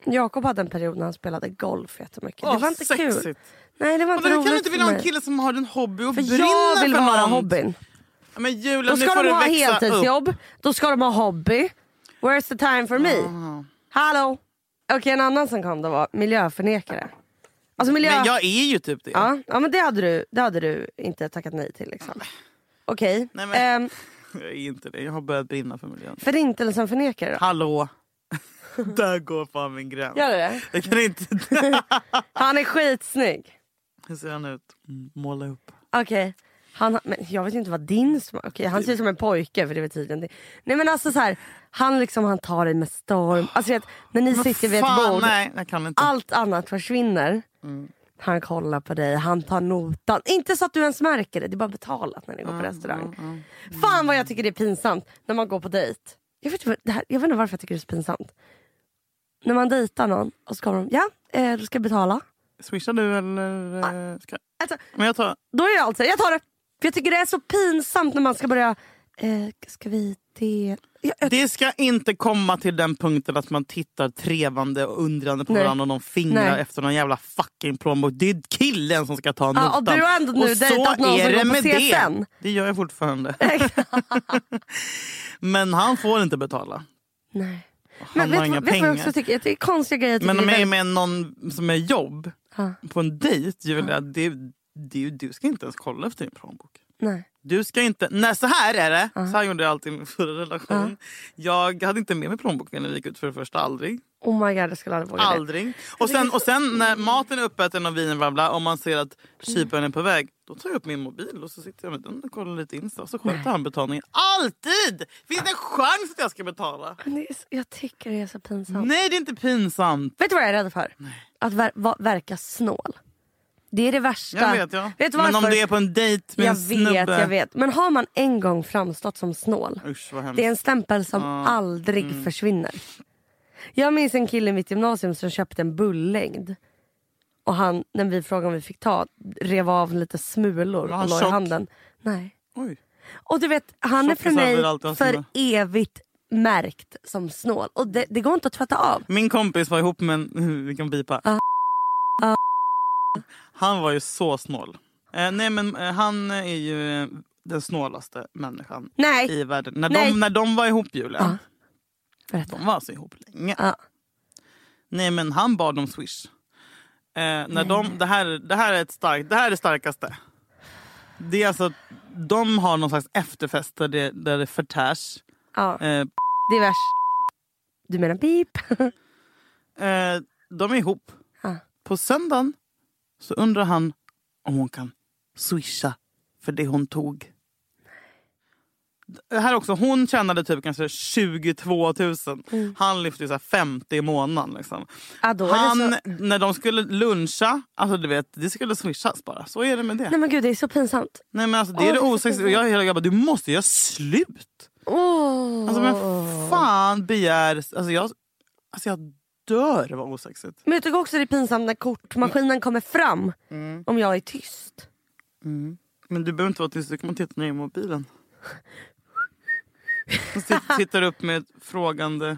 [SPEAKER 3] Jakob hade en period när han spelade golf jättemycket. det
[SPEAKER 4] Åh,
[SPEAKER 3] var inte
[SPEAKER 4] sexigt.
[SPEAKER 3] kul. Nej, det var
[SPEAKER 4] Och
[SPEAKER 3] inte
[SPEAKER 4] då kan
[SPEAKER 3] roligt
[SPEAKER 4] du inte vilja ha
[SPEAKER 3] för
[SPEAKER 4] en
[SPEAKER 3] mig.
[SPEAKER 4] kille som har en hobby och
[SPEAKER 3] För
[SPEAKER 4] brinner
[SPEAKER 3] jag vill
[SPEAKER 4] för
[SPEAKER 3] vara
[SPEAKER 4] något.
[SPEAKER 3] hobbyn.
[SPEAKER 4] Men Julia,
[SPEAKER 3] Då
[SPEAKER 4] nu
[SPEAKER 3] ska
[SPEAKER 4] får
[SPEAKER 3] de
[SPEAKER 4] du
[SPEAKER 3] ha
[SPEAKER 4] växa upp.
[SPEAKER 3] heltidsjobb, då ska de ha hobby. Where's the time for me?
[SPEAKER 4] Ah.
[SPEAKER 3] Hallå? Okej, en annan som kom då var miljöförnekare. Alltså miljö...
[SPEAKER 4] Men jag är ju typ det.
[SPEAKER 3] ja, ja, men det hade, du, det hade du inte tackat nej till. Liksom. Okej.
[SPEAKER 4] Nej, men-
[SPEAKER 3] Ehm,
[SPEAKER 4] Jag är inte det. Jag har börjat brinna för miljön.
[SPEAKER 3] förintelsen förnekare då?
[SPEAKER 4] Hallå! Där går fan min gräns.
[SPEAKER 3] Gör du det?
[SPEAKER 4] Jag kan inte...
[SPEAKER 3] Han är skitsnygg.
[SPEAKER 4] Hur ser han ut? Mm, Måla upp.
[SPEAKER 3] Okej. Han har- Men jag vet inte vad din smak... Okej, han ser ut som en pojke för det var tydligen det. Nej men alltså så här, han liksom han tar dig med storm. Alltså du vet, när ni sitter vid ett
[SPEAKER 4] Fan,
[SPEAKER 3] bord.
[SPEAKER 4] nej. Jag kan inte.
[SPEAKER 3] allt annat försvinner.
[SPEAKER 4] Mm.
[SPEAKER 3] Han kollar på dig, han tar notan. Inte så att du ens märker det, det är bara betalat när ni går
[SPEAKER 4] Mm,
[SPEAKER 3] på restaurang. Fan vad jag tycker det är pinsamt när man går på dejt. Jag vet, inte vad- det här, jag vet inte varför jag tycker det är så pinsamt. När man dejtar någon och så kommer de, ja eh, du ska jag betala.
[SPEAKER 4] Swishar du eller? eh, Ska...
[SPEAKER 3] Alltså,
[SPEAKER 4] Men jag tar...
[SPEAKER 3] då är jag alltså, jag tar det. För jag tycker det är så pinsamt när man ska börja, eh, ska vi det? Jag, jag,
[SPEAKER 4] Det ska inte komma till den punkten att man tittar trevande och undrande på
[SPEAKER 3] Nej.
[SPEAKER 4] varandra och de fingrar
[SPEAKER 3] Nej.
[SPEAKER 4] efter någon jävla fucking plånbok. Det är killen som ska ta notan.
[SPEAKER 3] Ja, och du har ändå nu
[SPEAKER 4] och så
[SPEAKER 3] dejtat någon
[SPEAKER 4] är
[SPEAKER 3] som
[SPEAKER 4] det
[SPEAKER 3] går på
[SPEAKER 4] med det.
[SPEAKER 3] CSN.
[SPEAKER 4] Det gör jag fortfarande. Men han får inte betala.
[SPEAKER 3] nej.
[SPEAKER 4] Han har
[SPEAKER 3] du
[SPEAKER 4] inga
[SPEAKER 3] vad- vet du vad jag
[SPEAKER 4] pengar.
[SPEAKER 3] också tycker? Jag tycker det är konstiga grejer. jag tycker
[SPEAKER 4] Men om
[SPEAKER 3] det är
[SPEAKER 4] jag är
[SPEAKER 3] väldigt-
[SPEAKER 4] med någon som är jobb
[SPEAKER 3] Ja.
[SPEAKER 4] på en dejt, Julia, det, det, du ska inte ens kolla efter din plånbok.
[SPEAKER 3] Nej.
[SPEAKER 4] Du ska inte... Nej, så här är det. Så här gjorde jag alltid i min förra relation. Jag hade inte med mig plånboken när vi gick ut för det första. Aldrig.
[SPEAKER 3] Oh my god, jag skulle aldrig våga det.
[SPEAKER 4] Aldrig. Och sen, och sen när maten är uppäten och vinen bla bla, och man ser att kyparen är på väg, då tar jag upp min mobil och så sitter jag med den och kollar lite Insta och så sköter han betalningen. Alltid! Finns det en chans att jag ska betala?
[SPEAKER 3] Men det är så, jag tycker det är så pinsamt.
[SPEAKER 4] Nej, det är inte pinsamt.
[SPEAKER 3] Vet du vad jag är rädd för? Att ver- va- verka snål. Det är det värsta.
[SPEAKER 4] Jag vet ja.
[SPEAKER 3] Vet du
[SPEAKER 4] Men om
[SPEAKER 3] varför?
[SPEAKER 4] du är på en dejt med
[SPEAKER 3] jag
[SPEAKER 4] en snubbe.
[SPEAKER 3] vet, jag vet. Men har man en gång framstått som snål,
[SPEAKER 4] Usch vad hemskt.
[SPEAKER 3] det är en stämpel som aldrig
[SPEAKER 4] Mm.
[SPEAKER 3] försvinner. Jag minns en kille i mitt gymnasium som köpte en bullängd. Och han, när vi frågade om vi fick ta, rev av lite smulor
[SPEAKER 4] Var
[SPEAKER 3] och
[SPEAKER 4] han
[SPEAKER 3] la i
[SPEAKER 4] tjock?
[SPEAKER 3] handen. Nej.
[SPEAKER 4] Oj.
[SPEAKER 3] Och du vet, han är för
[SPEAKER 4] Tjockisar vill
[SPEAKER 3] mig
[SPEAKER 4] alltid ha
[SPEAKER 3] för
[SPEAKER 4] sina.
[SPEAKER 3] evigt märkt som snål. Och det, det går inte att tvätta av.
[SPEAKER 4] Min kompis var ihop med en, vi kan bipa. Han var ju så snål. Eh, nej men eh, han är ju eh, den snålaste människan
[SPEAKER 3] Nej,
[SPEAKER 4] i världen. När
[SPEAKER 3] Nej.
[SPEAKER 4] de, när de var ihop Julia,
[SPEAKER 3] Ja. berätta.
[SPEAKER 4] de var alltså ihop länge.
[SPEAKER 3] Ja.
[SPEAKER 4] Nej men han bad om swish. Eh, när de, det, här, det här är ett starkt, det här är det starkaste. Det är alltså, de har någon slags efterfest där det, där det förtärs.
[SPEAKER 3] Ja,
[SPEAKER 4] Eh,
[SPEAKER 3] divers. Du menar beep?
[SPEAKER 4] Eh, de är ihop.
[SPEAKER 3] Ja.
[SPEAKER 4] På söndagen så undrar han om hon kan swisha för det hon tog. Det Här också, hon tjänade typ kanske 22 000. Han lyfte ju så här 50 i månaden. Liksom.
[SPEAKER 3] Ja, Mm. då är det
[SPEAKER 4] Han,
[SPEAKER 3] så...
[SPEAKER 4] När de skulle luncha, alltså du vet, det skulle swishas bara. Så är det med det.
[SPEAKER 3] Nej
[SPEAKER 4] Nej,
[SPEAKER 3] men gud, det är så pinsamt.
[SPEAKER 4] men alltså, det
[SPEAKER 3] Åh, det
[SPEAKER 4] är det
[SPEAKER 3] är så
[SPEAKER 4] osexuella.
[SPEAKER 3] pinsamt.
[SPEAKER 4] Jag är hela grabbar, du måste göra slut.
[SPEAKER 3] Åh.
[SPEAKER 4] Alltså men fan begär... Alltså jag, alltså, jag dör vad osexigt.
[SPEAKER 3] Men jag tycker också det är pinsamt när kortmaskinen kommer fram
[SPEAKER 4] Mm.
[SPEAKER 3] om jag är tyst.
[SPEAKER 4] Men du behöver inte vara tyst, du kan bara titta ner i mobilen. Och sit- Tittar upp med ett frågande...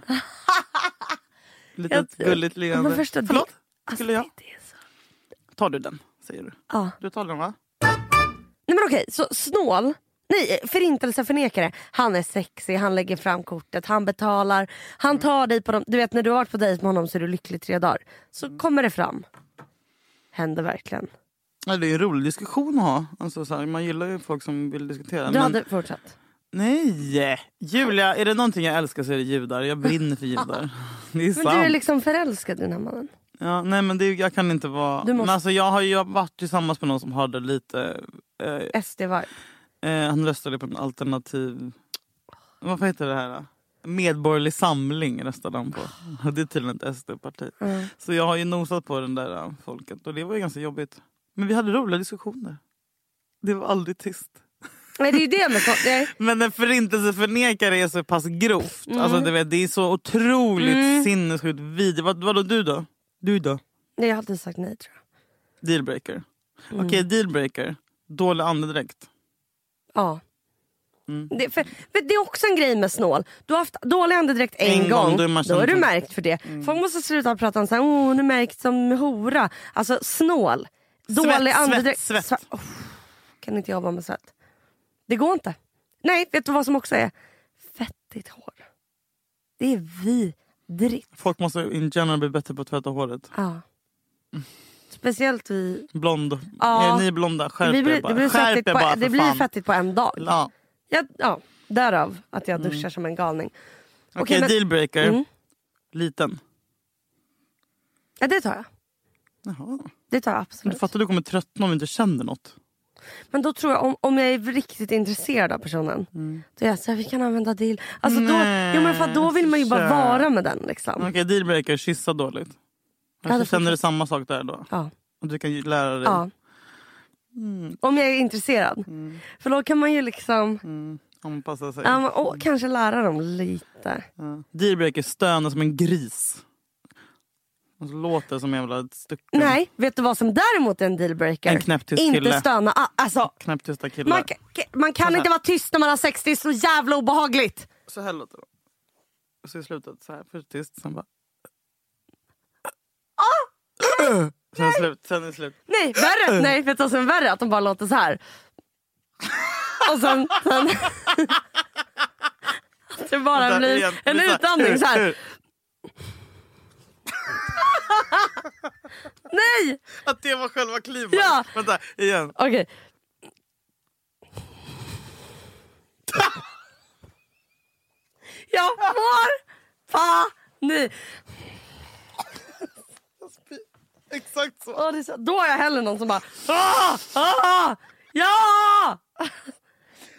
[SPEAKER 4] Litet
[SPEAKER 3] Jag-
[SPEAKER 4] gulligt leende.
[SPEAKER 3] Men förstå, det-
[SPEAKER 4] Förlåt?
[SPEAKER 3] Alltså,
[SPEAKER 4] Skulle jag?
[SPEAKER 3] det är så...
[SPEAKER 4] Tar du den, säger du.
[SPEAKER 3] Ja.
[SPEAKER 4] Du tar den va?
[SPEAKER 3] Nej men okej, så snål. Nej, förintelse förnekare. Han är sexig, han lägger fram kortet, han betalar.
[SPEAKER 4] Mm.
[SPEAKER 3] Han tar dig på dem. Du vet när du har varit på dejt med honom så är du lycklig tre dagar. Så
[SPEAKER 4] Mm.
[SPEAKER 3] kommer det fram. Händer verkligen.
[SPEAKER 4] Ja, det är en rolig diskussion att ha. Alltså, så här, man gillar ju folk som vill diskutera.
[SPEAKER 3] Du
[SPEAKER 4] men-
[SPEAKER 3] hade fortsatt.
[SPEAKER 4] Nej! Julia, är det någonting jag älskar så är det judar. Jag brinner för judar. Det är
[SPEAKER 3] Men
[SPEAKER 4] sant.
[SPEAKER 3] du är liksom förälskad i den här mannen.
[SPEAKER 4] Ja, nej men det, jag kan inte vara...
[SPEAKER 3] Du måste-
[SPEAKER 4] Men alltså, jag har ju varit tillsammans med någon som hade lite... Eh,
[SPEAKER 3] SD var.
[SPEAKER 4] eh, han röstade på en alternativ... Vad heter det här? då? Medborgerlig samling röstade han på. Det är tydligen ett SD-parti. Så jag har ju nosat på den där eh, folket och det var ju ganska jobbigt. Men vi hade roliga diskussioner. Det var aldrig tyst.
[SPEAKER 3] Nej det är ju det med så- nej.
[SPEAKER 4] Men en förintelseförnekare är så pass grovt. Alltså, du vet, det är så otroligt sinnessjukt vidrigt. Vad, vadå du då? Mm. Du då?
[SPEAKER 3] Nej jag har alltid sagt nej tror jag.
[SPEAKER 4] Dealbreaker. Okej, dealbreaker. Dålig andedräkt.
[SPEAKER 3] Ja.
[SPEAKER 4] Mm.
[SPEAKER 3] Det, för, för det är också en grej med snål. Du har haft dålig andedräkt en,
[SPEAKER 4] En gång,
[SPEAKER 3] gång,
[SPEAKER 4] då är man Mm.
[SPEAKER 3] då är du
[SPEAKER 4] känd.
[SPEAKER 3] märkt för det. Folk måste sluta prata om så här, oh, hon är märkt som hora. Alltså snål. Dålig
[SPEAKER 4] svett,
[SPEAKER 3] andedräkt.
[SPEAKER 4] svett.
[SPEAKER 3] Sva- oh, kan inte jag vara med svett? Det går inte. Nej, vet du vad som också är? Fettigt hår. Det är vidrigt.
[SPEAKER 4] Folk måste in general bli bättre på att tvätta håret.
[SPEAKER 3] Ja.
[SPEAKER 4] Mm.
[SPEAKER 3] Speciellt vi...
[SPEAKER 4] Blond.
[SPEAKER 3] Ja.
[SPEAKER 4] Är ni blonda? Skärp
[SPEAKER 3] vi blir,
[SPEAKER 4] er bara.
[SPEAKER 3] det blir,
[SPEAKER 4] Skärp
[SPEAKER 3] fettigt,
[SPEAKER 4] er
[SPEAKER 3] på,
[SPEAKER 4] bara för
[SPEAKER 3] det blir
[SPEAKER 4] fan.
[SPEAKER 3] fettigt på en dag.
[SPEAKER 4] Ja.
[SPEAKER 3] Ja, ja, därav att jag duschar som en galning.
[SPEAKER 4] Mm. Okej,
[SPEAKER 3] Okej, men-
[SPEAKER 4] dealbreaker.
[SPEAKER 3] Mm.
[SPEAKER 4] Liten.
[SPEAKER 3] Ja, det tar jag.
[SPEAKER 4] Jaha.
[SPEAKER 3] Det tar jag
[SPEAKER 4] Men Du
[SPEAKER 3] absolut.
[SPEAKER 4] fattar, du kommer tröttna om du inte känner något.
[SPEAKER 3] Men då tror jag om, om jag är riktigt intresserad av personen. Då är jag såhär, vi kan använda deal. Alltså då,
[SPEAKER 4] Mm. Nej,
[SPEAKER 3] jo, men för att då vill man ju bara
[SPEAKER 4] kär.
[SPEAKER 3] vara med den liksom.
[SPEAKER 4] Okej, dealbreaker. Kyssa dåligt.
[SPEAKER 3] det
[SPEAKER 4] Kanske känner
[SPEAKER 3] funkar.
[SPEAKER 4] du samma sak där då?
[SPEAKER 3] Ja.
[SPEAKER 4] Och du kan ju lära dig.
[SPEAKER 3] ja.
[SPEAKER 4] Mm.
[SPEAKER 3] Om jag är intresserad. För då kan man ju liksom,
[SPEAKER 4] Anpassa sig.
[SPEAKER 3] ja, man, åh, kanske lära dem lite.
[SPEAKER 4] Ja. Dealbreaker stönar som en gris. Och så låter som en jävla stycke.
[SPEAKER 3] Nej, vet du vad som däremot är en dealbreaker?
[SPEAKER 4] En knäpptyst
[SPEAKER 3] Inte
[SPEAKER 4] kille.
[SPEAKER 3] stöna. Ah, alltså,
[SPEAKER 4] Knäpptysta killar.
[SPEAKER 3] man, ka- man kan inte vara tyst när man har sex, det är så jävla obehagligt.
[SPEAKER 4] Så här låter det. Och så i slutet så här, först tyst, sen bara... Sen är slut, sen är det slut.
[SPEAKER 3] Nej,
[SPEAKER 4] Eh.
[SPEAKER 3] värre. Nej, vet du vad som är värre? Att de bara låter så här. Och sen... sen att det bara
[SPEAKER 4] Där
[SPEAKER 3] blir
[SPEAKER 4] igen. Eh, Det
[SPEAKER 3] en
[SPEAKER 4] blir så här,
[SPEAKER 3] utandning så här.
[SPEAKER 4] "Ur, ur."
[SPEAKER 3] Nej!
[SPEAKER 4] Att det var själva klimax.
[SPEAKER 3] Ja.
[SPEAKER 4] Vänta, igen.
[SPEAKER 3] Okej. Jag mår panik.
[SPEAKER 4] Exakt så.
[SPEAKER 3] Åh, det är så- Då är jag hellre någon som bara... Ah! Ah! Ja!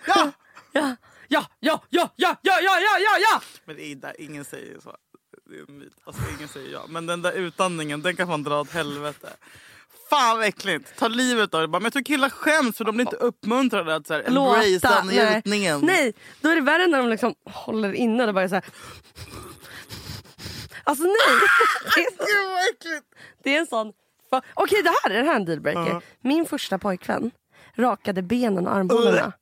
[SPEAKER 4] Ja!
[SPEAKER 3] Ja! Ja, ja, ja, ja, ja, ja, ja, ja, ja!
[SPEAKER 4] Men det är där, ingen säger så. Det är en myt. Alltså, ingen säger ja. Men den där utandningen, den kan man dra åt helvete. Fan vad äckligt. Ta livet av det. Bara, Men jag tror killar skäms för de blir inte uppmuntrade att så här,
[SPEAKER 3] Låta.
[SPEAKER 4] embracea
[SPEAKER 3] Nej.
[SPEAKER 4] njutningen.
[SPEAKER 3] nej, då är det värre när de liksom håller inne och bara är så här. Alltså nej. Det är så-
[SPEAKER 4] Gud vad äckligt.
[SPEAKER 3] Det är en sån... fa- Okej, det här är det här är en dealbreaker. Min första pojkvän rakade benen och armhålorna.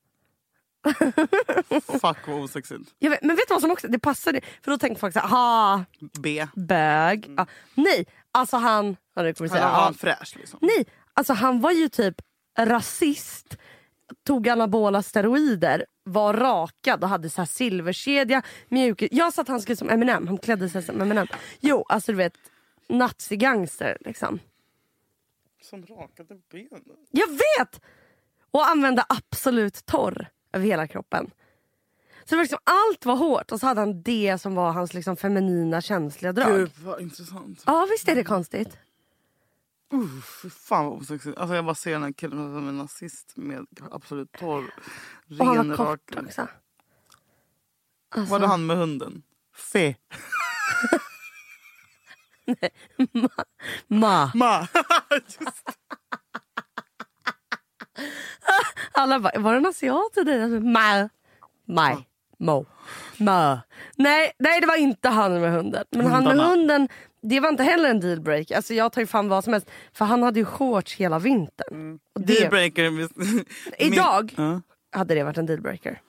[SPEAKER 4] Fuck vad osexigt.
[SPEAKER 3] Jag vet, men vet du vad som också... Det passade. För då tänkte folk så här, ha,
[SPEAKER 4] B.
[SPEAKER 3] bög. Ja, nej, alltså han... Ja, det kommer
[SPEAKER 4] Han
[SPEAKER 3] säga,
[SPEAKER 4] var
[SPEAKER 3] ja,
[SPEAKER 4] han fräsch liksom.
[SPEAKER 3] nej, alltså han var ju typ rasist. Tog anabola steroider, var rakad och hade så här silverkedja, mjuk... Jag sa att han skulle som Eminem, han klädde sig som Eminem. Jo, alltså du vet, nazigangster liksom.
[SPEAKER 4] Som rakade benen.
[SPEAKER 3] Jag vet! Och använde absolut torr över hela kroppen. Så det var liksom, allt var hårt och så hade han det som var hans liksom feminina känsliga drag.
[SPEAKER 4] Gud vad intressant.
[SPEAKER 3] Ja visst är det konstigt?
[SPEAKER 4] Fy fan vad osexigt. Alltså jag bara ser den här killen som en nazist med absolut torr,
[SPEAKER 3] Och han var
[SPEAKER 4] renrakad.
[SPEAKER 3] kort också.
[SPEAKER 4] Var det han med hunden? Fe.
[SPEAKER 3] Ma.
[SPEAKER 4] Ma. Just.
[SPEAKER 3] Alla bara, var det en asiat i dig? Alltså, Ma. Maj. Mo. Ma. Nej, nej det var inte han med hunden. Men han med
[SPEAKER 4] Hundarna.
[SPEAKER 3] hunden, det var inte heller en dealbreak. Alltså jag tar ju fan vad som helst. För han hade ju shorts hela vintern. Och det-
[SPEAKER 4] Dealbreaker. Mm. Min-
[SPEAKER 3] Idag?
[SPEAKER 4] Ja.
[SPEAKER 3] hade det varit en dealbreaker.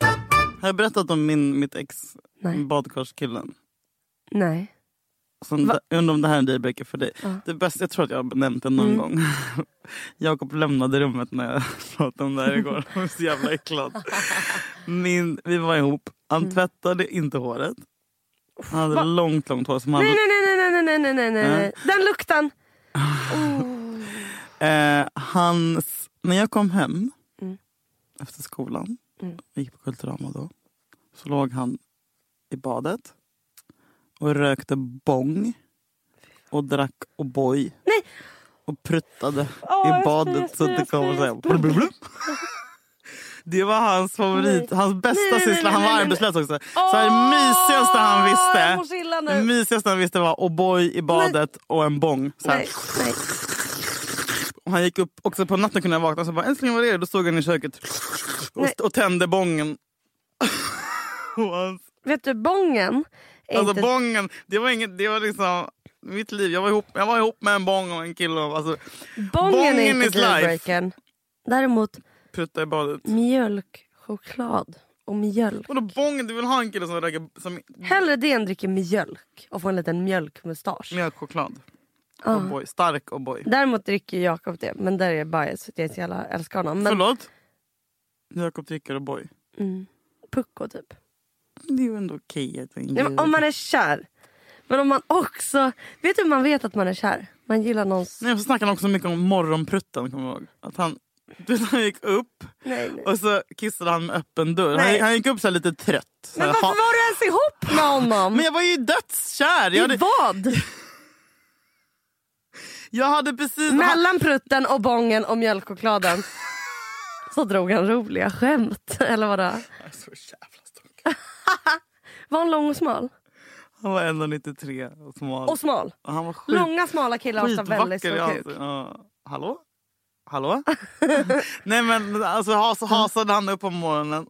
[SPEAKER 4] Har jag berättat om min, mitt ex,
[SPEAKER 3] Nej.
[SPEAKER 4] badkarskillen?
[SPEAKER 3] Nej.
[SPEAKER 4] Som
[SPEAKER 3] Va?
[SPEAKER 4] jag undrar om det här är en dealbreaker för dig. Det bästa, jag tror att jag har nämnt det någon
[SPEAKER 3] Mm.
[SPEAKER 4] gång. Jakob lämnade rummet när jag pratade om det här igår. Han var så jävla äcklad. Min, vi var ihop. Han
[SPEAKER 3] Mm.
[SPEAKER 4] tvättade inte håret. Han hade långt, långt hår. Som han,
[SPEAKER 3] Nej, nej, nej, nej, nej, nej, nej, nej, nej,
[SPEAKER 4] Mm.
[SPEAKER 3] nej. Den lukten.
[SPEAKER 4] Eh, hans, när jag kom hem
[SPEAKER 3] Mm.
[SPEAKER 4] efter skolan, gick på Kulturama då, så låg han i badet och rökte bång och drack O'boy.
[SPEAKER 3] Nej.
[SPEAKER 4] Och pruttade
[SPEAKER 3] jag
[SPEAKER 4] i badet
[SPEAKER 3] ser,
[SPEAKER 4] så
[SPEAKER 3] jag
[SPEAKER 4] att det
[SPEAKER 3] ser,
[SPEAKER 4] kom
[SPEAKER 3] jag
[SPEAKER 4] så här. blub, blub, blub. Det var hans favorit, hans
[SPEAKER 3] Nej,
[SPEAKER 4] bästa
[SPEAKER 3] nej, nej,
[SPEAKER 4] syssla. Han
[SPEAKER 3] nej,
[SPEAKER 4] var
[SPEAKER 3] nej,
[SPEAKER 4] arbetslös också. Så här, det mysigaste han
[SPEAKER 3] jag mår så
[SPEAKER 4] visste
[SPEAKER 3] illa nu.
[SPEAKER 4] det mysigaste han visste var O'boy i badet och en bång. Så här.
[SPEAKER 3] Nej, nej.
[SPEAKER 4] Och han gick upp också på natten kunde jag vakna så bara älskling vad är det? Då stod han i köket och,
[SPEAKER 3] Nej.
[SPEAKER 4] och tände bången. och hans,
[SPEAKER 3] Vet du, bången är
[SPEAKER 4] alltså
[SPEAKER 3] inte...
[SPEAKER 4] bången, det var inget, det var liksom mitt liv. Jag var ihop, jag var ihop med en bång och en kille och alltså,
[SPEAKER 3] bången
[SPEAKER 4] bången
[SPEAKER 3] är
[SPEAKER 4] is
[SPEAKER 3] inte
[SPEAKER 4] life.
[SPEAKER 3] dealbreakern. Däremot
[SPEAKER 4] prutta i badet.
[SPEAKER 3] mjölk, choklad och mjölk.
[SPEAKER 4] Och då bången, du vill ha en kille som röker som
[SPEAKER 3] Hellre det än dricker mjölk och få en liten mjölkmustasch.
[SPEAKER 4] mjölkchoklad. O'boy, stark O'boy.
[SPEAKER 3] Däremot dricker Jakob det, men där är jag bias. för att Jag är så jävla älskar honom. Men
[SPEAKER 4] Förlåt? Jakob dricker O'boy.
[SPEAKER 3] pucko typ.
[SPEAKER 4] Det är ju ändå okej. att en
[SPEAKER 3] Nej, men
[SPEAKER 4] grej-
[SPEAKER 3] om man är kär. Men om man också... Vet du hur man vet att man är kär? Man gillar någons...
[SPEAKER 4] Nej, så snackade han också mycket om morgonprutten. Kommer jag ihåg. Att han, du vet, han gick upp
[SPEAKER 3] Nej, nej.
[SPEAKER 4] och så kissade han med öppen dörr.
[SPEAKER 3] Nej.
[SPEAKER 4] Han, han gick upp så här lite trött. Så
[SPEAKER 3] Men
[SPEAKER 4] här,
[SPEAKER 3] varför
[SPEAKER 4] ha-
[SPEAKER 3] var du ens ihop med honom?
[SPEAKER 4] men jag var ju dödskär! Jag
[SPEAKER 3] I
[SPEAKER 4] hade,
[SPEAKER 3] vad?
[SPEAKER 4] jag hade precis... Han,
[SPEAKER 3] Mellan prutten och bången och mjölkchokladen. Så drog han roliga skämt. Eller vadå?
[SPEAKER 4] Jag är så jävla stor.
[SPEAKER 3] Var han lång och smal?
[SPEAKER 4] han var 1,93 och smal.
[SPEAKER 3] Och smal.
[SPEAKER 4] Och han var skit,
[SPEAKER 3] Långa smala killar har ofta väldigt
[SPEAKER 4] skitvacker i
[SPEAKER 3] stor kuk.
[SPEAKER 4] ansiktet. Ja. Hallå? Hallå? Nej men alltså has, hasade han upp på morgonen.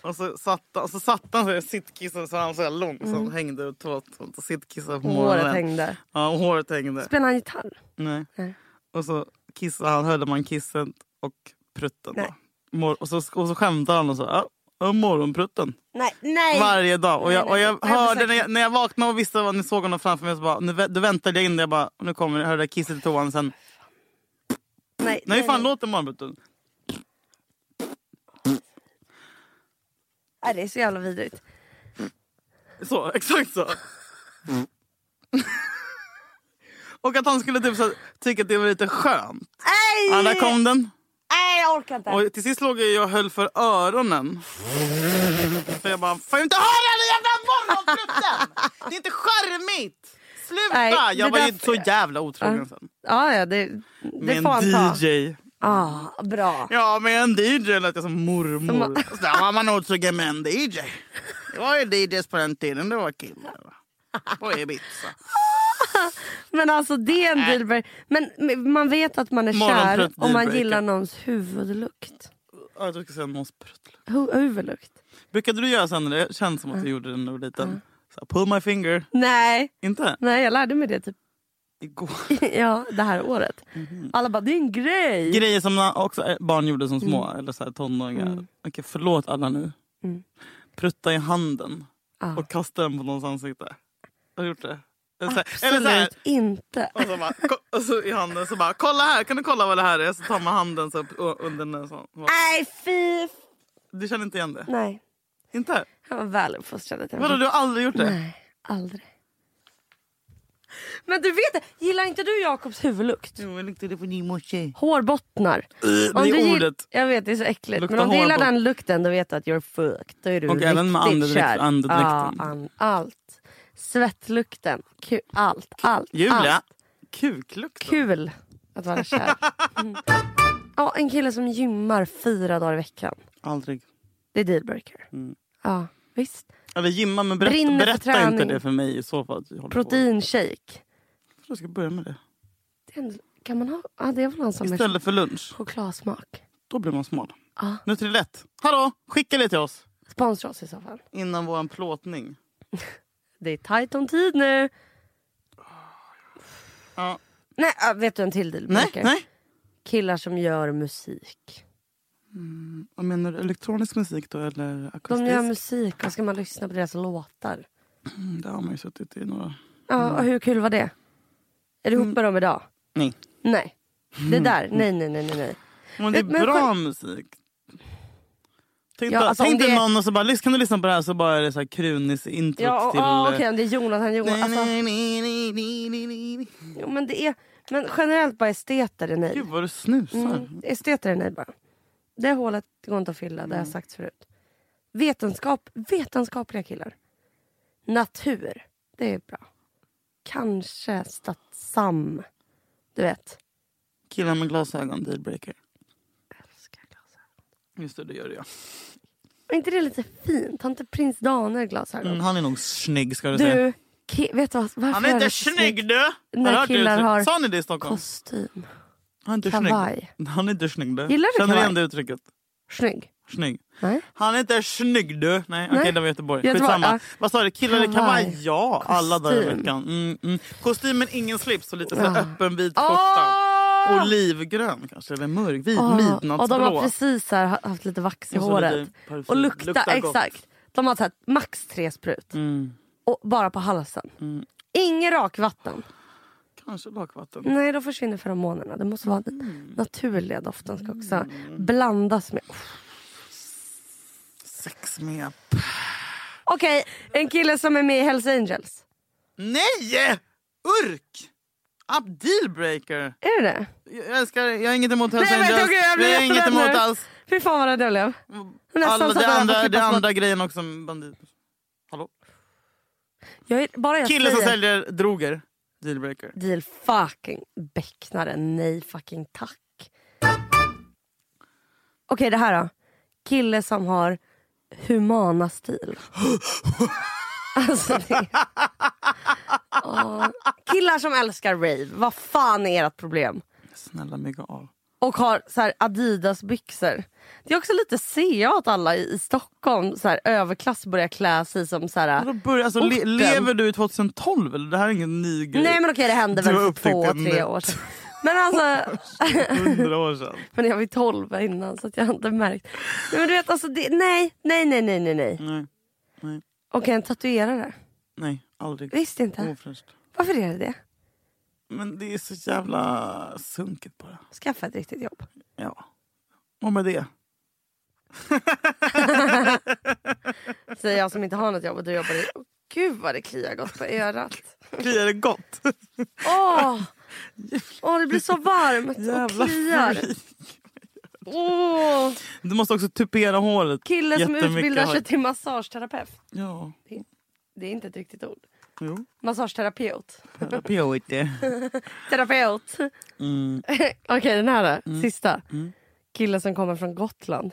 [SPEAKER 4] Och så satt, och så satt han så här, sittkissade så han så här långt så han hängde ut tårtan. Sittkissade på morgonen.
[SPEAKER 3] Mm. Håret hängde.
[SPEAKER 4] Ja, och håret hängde.
[SPEAKER 3] Spelade han gitarr?
[SPEAKER 4] Nej.
[SPEAKER 3] Nej.
[SPEAKER 4] Och så kissade han, höll man kissen och prutten.
[SPEAKER 3] Nej.
[SPEAKER 4] Då. Mor- och, så, och så skämtade han och sa ja, om morgonprutten
[SPEAKER 3] Nej, nej.
[SPEAKER 4] varje dag. Och jag, och jag
[SPEAKER 3] nej. Jag har
[SPEAKER 4] hörde
[SPEAKER 3] sagt-
[SPEAKER 4] när jag, när jag vaknade och visste vad ni såg honom framför mig så bara, nu, vä- då väntade jag in det. Jag bara, nu kommer jag hörde kisset i toan sen.
[SPEAKER 3] nej,
[SPEAKER 4] Nej, fan låter morgonprutten?
[SPEAKER 3] nej, det är så jävla vidrigt.
[SPEAKER 4] Så, exakt så. och att han skulle typ så här, tycka att det var lite skönt.
[SPEAKER 3] Nej,
[SPEAKER 4] Ja, där kom den.
[SPEAKER 3] nej jag orkar inte.
[SPEAKER 4] Och till sist låg jag och höll för öronen. För jag bara, får jag inte höra den jävla morgonprutten? Det är inte charmigt! Sluta!
[SPEAKER 3] Nej, det
[SPEAKER 4] jag var ju
[SPEAKER 3] där-
[SPEAKER 4] så jävla otrogen sen.
[SPEAKER 3] Ja, ja, det, det
[SPEAKER 4] Med
[SPEAKER 3] får han
[SPEAKER 4] en
[SPEAKER 3] ta.
[SPEAKER 4] DJ.
[SPEAKER 3] Ah, bra.
[SPEAKER 4] Ja, med en DJ lät jag som mormor.
[SPEAKER 3] Som-
[SPEAKER 4] Så där var man otrogen med en DJ. Det var ju DJs på den tiden, det var killar. va? På Ibiza.
[SPEAKER 3] Men alltså det är en dealbreaker. Men men man vet att man är kär
[SPEAKER 4] Morgontrött
[SPEAKER 3] om man
[SPEAKER 4] dealbreaker.
[SPEAKER 3] gillar någons huvudlukt.
[SPEAKER 4] Ja, Jag tror jag ska säga någons pruttluck.
[SPEAKER 3] Hu- huvudlukt?
[SPEAKER 4] Brukade du göra så här när det känns som att du gjorde det när du var liten? Så här, pull my finger.
[SPEAKER 3] Nej.
[SPEAKER 4] Inte?
[SPEAKER 3] Nej, jag lärde mig det typ
[SPEAKER 4] Igår.
[SPEAKER 3] ja, det här året.
[SPEAKER 4] Mhm.
[SPEAKER 3] Alla bara, det är en grej.
[SPEAKER 4] Grejer som na- också eh, barn gjorde som små
[SPEAKER 3] Mm.
[SPEAKER 4] eller så här tonåringar. Okej, förlåt alla nu. Prutta i handen
[SPEAKER 3] Ah.
[SPEAKER 4] och kasta den på någons ansikte. Har du gjort det? Eller så här- eller så här,
[SPEAKER 3] Absolut inte.
[SPEAKER 4] och så, bara, ko- och så i handen så bara kolla här, kan du kolla vad det här är? Så tar man handen så upp o- under näsan. Så bara,
[SPEAKER 3] Nej, fy.
[SPEAKER 4] Du känner inte igen det?
[SPEAKER 3] Nej,
[SPEAKER 4] Inte?
[SPEAKER 3] han var väl uppfostrad.
[SPEAKER 4] Vadå, du har aldrig gjort det?
[SPEAKER 3] Nej, aldrig. Men du vet, det, gillar inte du Jakobs huvudlukt?
[SPEAKER 4] Jo, jag luktade det på din morse.
[SPEAKER 3] Hårbottnar.
[SPEAKER 4] Det
[SPEAKER 3] du
[SPEAKER 4] är
[SPEAKER 3] gill-
[SPEAKER 4] ordet.
[SPEAKER 3] Jag vet, det är så äckligt.
[SPEAKER 4] Luktar
[SPEAKER 3] men om du gillar
[SPEAKER 4] hårbott-
[SPEAKER 3] den lukten då vet du att you're fucked. Då är du
[SPEAKER 4] Och
[SPEAKER 3] riktigt
[SPEAKER 4] även med andedräkt-
[SPEAKER 3] kär.
[SPEAKER 4] andedräkten.
[SPEAKER 3] Ja, an- allt. Svettlukten. Ku- allt, allt,
[SPEAKER 4] Julia,
[SPEAKER 3] allt.
[SPEAKER 4] kuklukt.
[SPEAKER 3] Kul att vara kär. Mm. Ja, en kille som gymmar fyra dagar i veckan.
[SPEAKER 4] Aldrig.
[SPEAKER 3] Det är dealbreaker.
[SPEAKER 4] Mm.
[SPEAKER 3] Ja, visst.
[SPEAKER 4] Eller gymma, men berätta,
[SPEAKER 3] Brinner för
[SPEAKER 4] berätta inte
[SPEAKER 3] träning.
[SPEAKER 4] det för mig i så fall. att jag håller på.
[SPEAKER 3] Proteinshake.
[SPEAKER 4] Jag tror jag ska börja med det.
[SPEAKER 3] Det är en- Kan man ha? Ja, det är väl någon som är
[SPEAKER 4] Istället för lunch.
[SPEAKER 3] chokladsmak.
[SPEAKER 4] Då blir man smal. Nutrilett. Hallå, skicka det till oss.
[SPEAKER 3] Sponsra oss i så fall.
[SPEAKER 4] Innan vår plåtning.
[SPEAKER 3] Det är tajt om tid nu.
[SPEAKER 4] Ja.
[SPEAKER 3] Nej, ja, vet du en till
[SPEAKER 4] Nej,
[SPEAKER 3] dealbreaker?
[SPEAKER 4] nej.
[SPEAKER 3] Killar som gör musik.
[SPEAKER 4] Vad menar du? Elektronisk musik då eller
[SPEAKER 3] De
[SPEAKER 4] akustisk?
[SPEAKER 3] gör musik och ska man lyssna på deras låtar.
[SPEAKER 4] Mm, Där har man ju suttit i några...
[SPEAKER 3] Ja, och hur kul var det? Är du ihop med dem idag?
[SPEAKER 4] Mm. Nej.
[SPEAKER 3] Nej.
[SPEAKER 4] Mm.
[SPEAKER 3] Det där, nej nej nej nej. nej.
[SPEAKER 4] Men det är
[SPEAKER 3] Vet- men
[SPEAKER 4] bra
[SPEAKER 3] själv-
[SPEAKER 4] musik. Tänk,
[SPEAKER 3] Ja,
[SPEAKER 4] då-
[SPEAKER 3] alltså,
[SPEAKER 4] tänk
[SPEAKER 3] om
[SPEAKER 4] dig
[SPEAKER 3] det-
[SPEAKER 4] någon och så bara, "Lys- kan du lyssna på det här? Så bara är det så här krunis introt
[SPEAKER 3] Ja,
[SPEAKER 4] till...
[SPEAKER 3] oh,
[SPEAKER 4] eh,
[SPEAKER 3] okej om det är Jonathan Johansson. Alltså,
[SPEAKER 4] nej, nej, nej, nej, nej, nej, nej.
[SPEAKER 3] jo, men det är, men generellt bara esteter är nej.
[SPEAKER 4] Gud vad du snusar.
[SPEAKER 3] Mm, esteter är nej bara. Det hålet går inte att fylla, det
[SPEAKER 4] Mm.
[SPEAKER 3] har jag sagt förut. Vetenskap, vetenskapliga killar. Natur, det är bra. Kanske Statsam. Du vet.
[SPEAKER 4] Killar med glasögon, dealbreaker.
[SPEAKER 3] Älskar glasögon.
[SPEAKER 4] Just det, det gör jag.
[SPEAKER 3] Är inte det lite fint? Har inte prins Daniel glasögon?
[SPEAKER 4] Mm, han är nog snygg ska du, säga.
[SPEAKER 3] Du, ki- vet du vad, varför
[SPEAKER 4] Han är
[SPEAKER 3] jag
[SPEAKER 4] inte
[SPEAKER 3] så
[SPEAKER 4] snygg du!
[SPEAKER 3] När
[SPEAKER 4] du hört det
[SPEAKER 3] killar
[SPEAKER 4] uttrycket?
[SPEAKER 3] har
[SPEAKER 4] Sa ni det i Stockholm?
[SPEAKER 3] Kostym.
[SPEAKER 4] Han är inte
[SPEAKER 3] kavaj.
[SPEAKER 4] snygg. Han är inte snygg du.
[SPEAKER 3] Gillar du
[SPEAKER 4] Känner du
[SPEAKER 3] kavaj?
[SPEAKER 4] igen det uttrycket?
[SPEAKER 3] Snygg.
[SPEAKER 4] Snygg.
[SPEAKER 3] Nej.
[SPEAKER 4] Han är inte snygg du. Nej okej
[SPEAKER 3] Nej.
[SPEAKER 4] det var Göteborg.
[SPEAKER 3] Göteborg,
[SPEAKER 4] Skitsamma.
[SPEAKER 3] ja.
[SPEAKER 4] Vad sa du? Killar i kavaj?
[SPEAKER 3] Kavaj.
[SPEAKER 4] Ja, alla dagar i
[SPEAKER 3] Kostym.
[SPEAKER 4] veckan. Mm, mm. Kostym men ingen slips och lite så här
[SPEAKER 3] Ja. Ah!
[SPEAKER 4] öppen vit
[SPEAKER 3] Åh!
[SPEAKER 4] skjorta. Olivgrön kanske eller mörkvit.
[SPEAKER 3] Åh,
[SPEAKER 4] typ Midnattsblå.
[SPEAKER 3] Och de har Ah, precis här ha- haft lite vax i
[SPEAKER 4] Och så
[SPEAKER 3] håret.
[SPEAKER 4] lite parfym.
[SPEAKER 3] Och lukta,
[SPEAKER 4] Luktar gott.
[SPEAKER 3] exakt. De har så här, max tre sprut.
[SPEAKER 4] Mm.
[SPEAKER 3] Och bara på halsen. Inget rakvatten.
[SPEAKER 4] Kanske lakvatten.
[SPEAKER 3] Nej, då försvinner feromonerna. Det måste vara den
[SPEAKER 4] Mm.
[SPEAKER 3] naturliga doften. Ska också blandas med.
[SPEAKER 4] Sex med...
[SPEAKER 3] Okej, en kille som är med i Hells Angels.
[SPEAKER 4] Nej! Urk! Up dealbreaker.
[SPEAKER 3] Är det det?
[SPEAKER 4] Jag älskar Jag har inget emot Hells
[SPEAKER 3] Nej, men
[SPEAKER 4] Angels.
[SPEAKER 3] okej, jag blir
[SPEAKER 4] Vi har inget
[SPEAKER 3] jätterädd
[SPEAKER 4] emot
[SPEAKER 3] nu.
[SPEAKER 4] alls.
[SPEAKER 3] Fy fan vad rädd jag blev. Nästan
[SPEAKER 4] Alla,
[SPEAKER 3] så att
[SPEAKER 4] det
[SPEAKER 3] jag får
[SPEAKER 4] andra,
[SPEAKER 3] klippa
[SPEAKER 4] det
[SPEAKER 3] bort.
[SPEAKER 4] anditer. andra grejen också med bandit. Hallå?
[SPEAKER 3] Jag är, bara jag
[SPEAKER 4] Kille som
[SPEAKER 3] säger-
[SPEAKER 4] säljer droger. Dealbreaker.
[SPEAKER 3] deal fucking becknare. Nej fucking tack. Okej det här då. Kille som har humana stil. alltså det... Ja. Killar som älskar rave. Vad fan är ert problem?
[SPEAKER 4] Snälla mygga av.
[SPEAKER 3] Och har så här Adidas byxor. Det är också lite CA att alla i i Stockholm, så här, överklass, börjar klä sig som så här...
[SPEAKER 4] Vadå börja- Alltså, le,
[SPEAKER 3] Orten.
[SPEAKER 4] lever du i 2012 eller? Det här är ingen ny grej.
[SPEAKER 3] Nej men okej det hände
[SPEAKER 4] Du
[SPEAKER 3] väl
[SPEAKER 4] har
[SPEAKER 3] för
[SPEAKER 4] upptäckt
[SPEAKER 3] två,
[SPEAKER 4] det nu.
[SPEAKER 3] tre år sedan. Men alltså,
[SPEAKER 4] Hundra år sedan.
[SPEAKER 3] Men jag var ju 12 innan så att jag har inte märkt. Nej men du vet alltså, det, nej, nej, nej, nej, nej, nej.
[SPEAKER 4] Nej,
[SPEAKER 3] Okej en tatuerare.
[SPEAKER 4] nej aldrig.
[SPEAKER 3] Visst inte.
[SPEAKER 4] Ofräscht.
[SPEAKER 3] Varför är det det?
[SPEAKER 4] Men det är så jävla sunkigt bara.
[SPEAKER 3] Skaffa ett riktigt jobb.
[SPEAKER 4] Ja. Och med det.
[SPEAKER 3] Säger jag som inte har något jobb och du jobbar i... Åh, Gud vad det kliar gott på örat.
[SPEAKER 4] Kliar det gott?
[SPEAKER 3] Åh, åh, det blir så varmt
[SPEAKER 4] Jävla
[SPEAKER 3] och kliar.
[SPEAKER 4] freak.
[SPEAKER 3] Åh,
[SPEAKER 4] Du måste också tupera håret.
[SPEAKER 3] kille som
[SPEAKER 4] Jättemycket
[SPEAKER 3] utbildar sig
[SPEAKER 4] hår.
[SPEAKER 3] till massageterapeut.
[SPEAKER 4] Ja.
[SPEAKER 3] Det är inte ett riktigt ord.
[SPEAKER 4] Jo.
[SPEAKER 3] Massageterapeut.
[SPEAKER 4] Terapeut.
[SPEAKER 3] Terapeut.
[SPEAKER 4] Mm.
[SPEAKER 3] Okej den här då, sista. Kille som kommer från Gotland.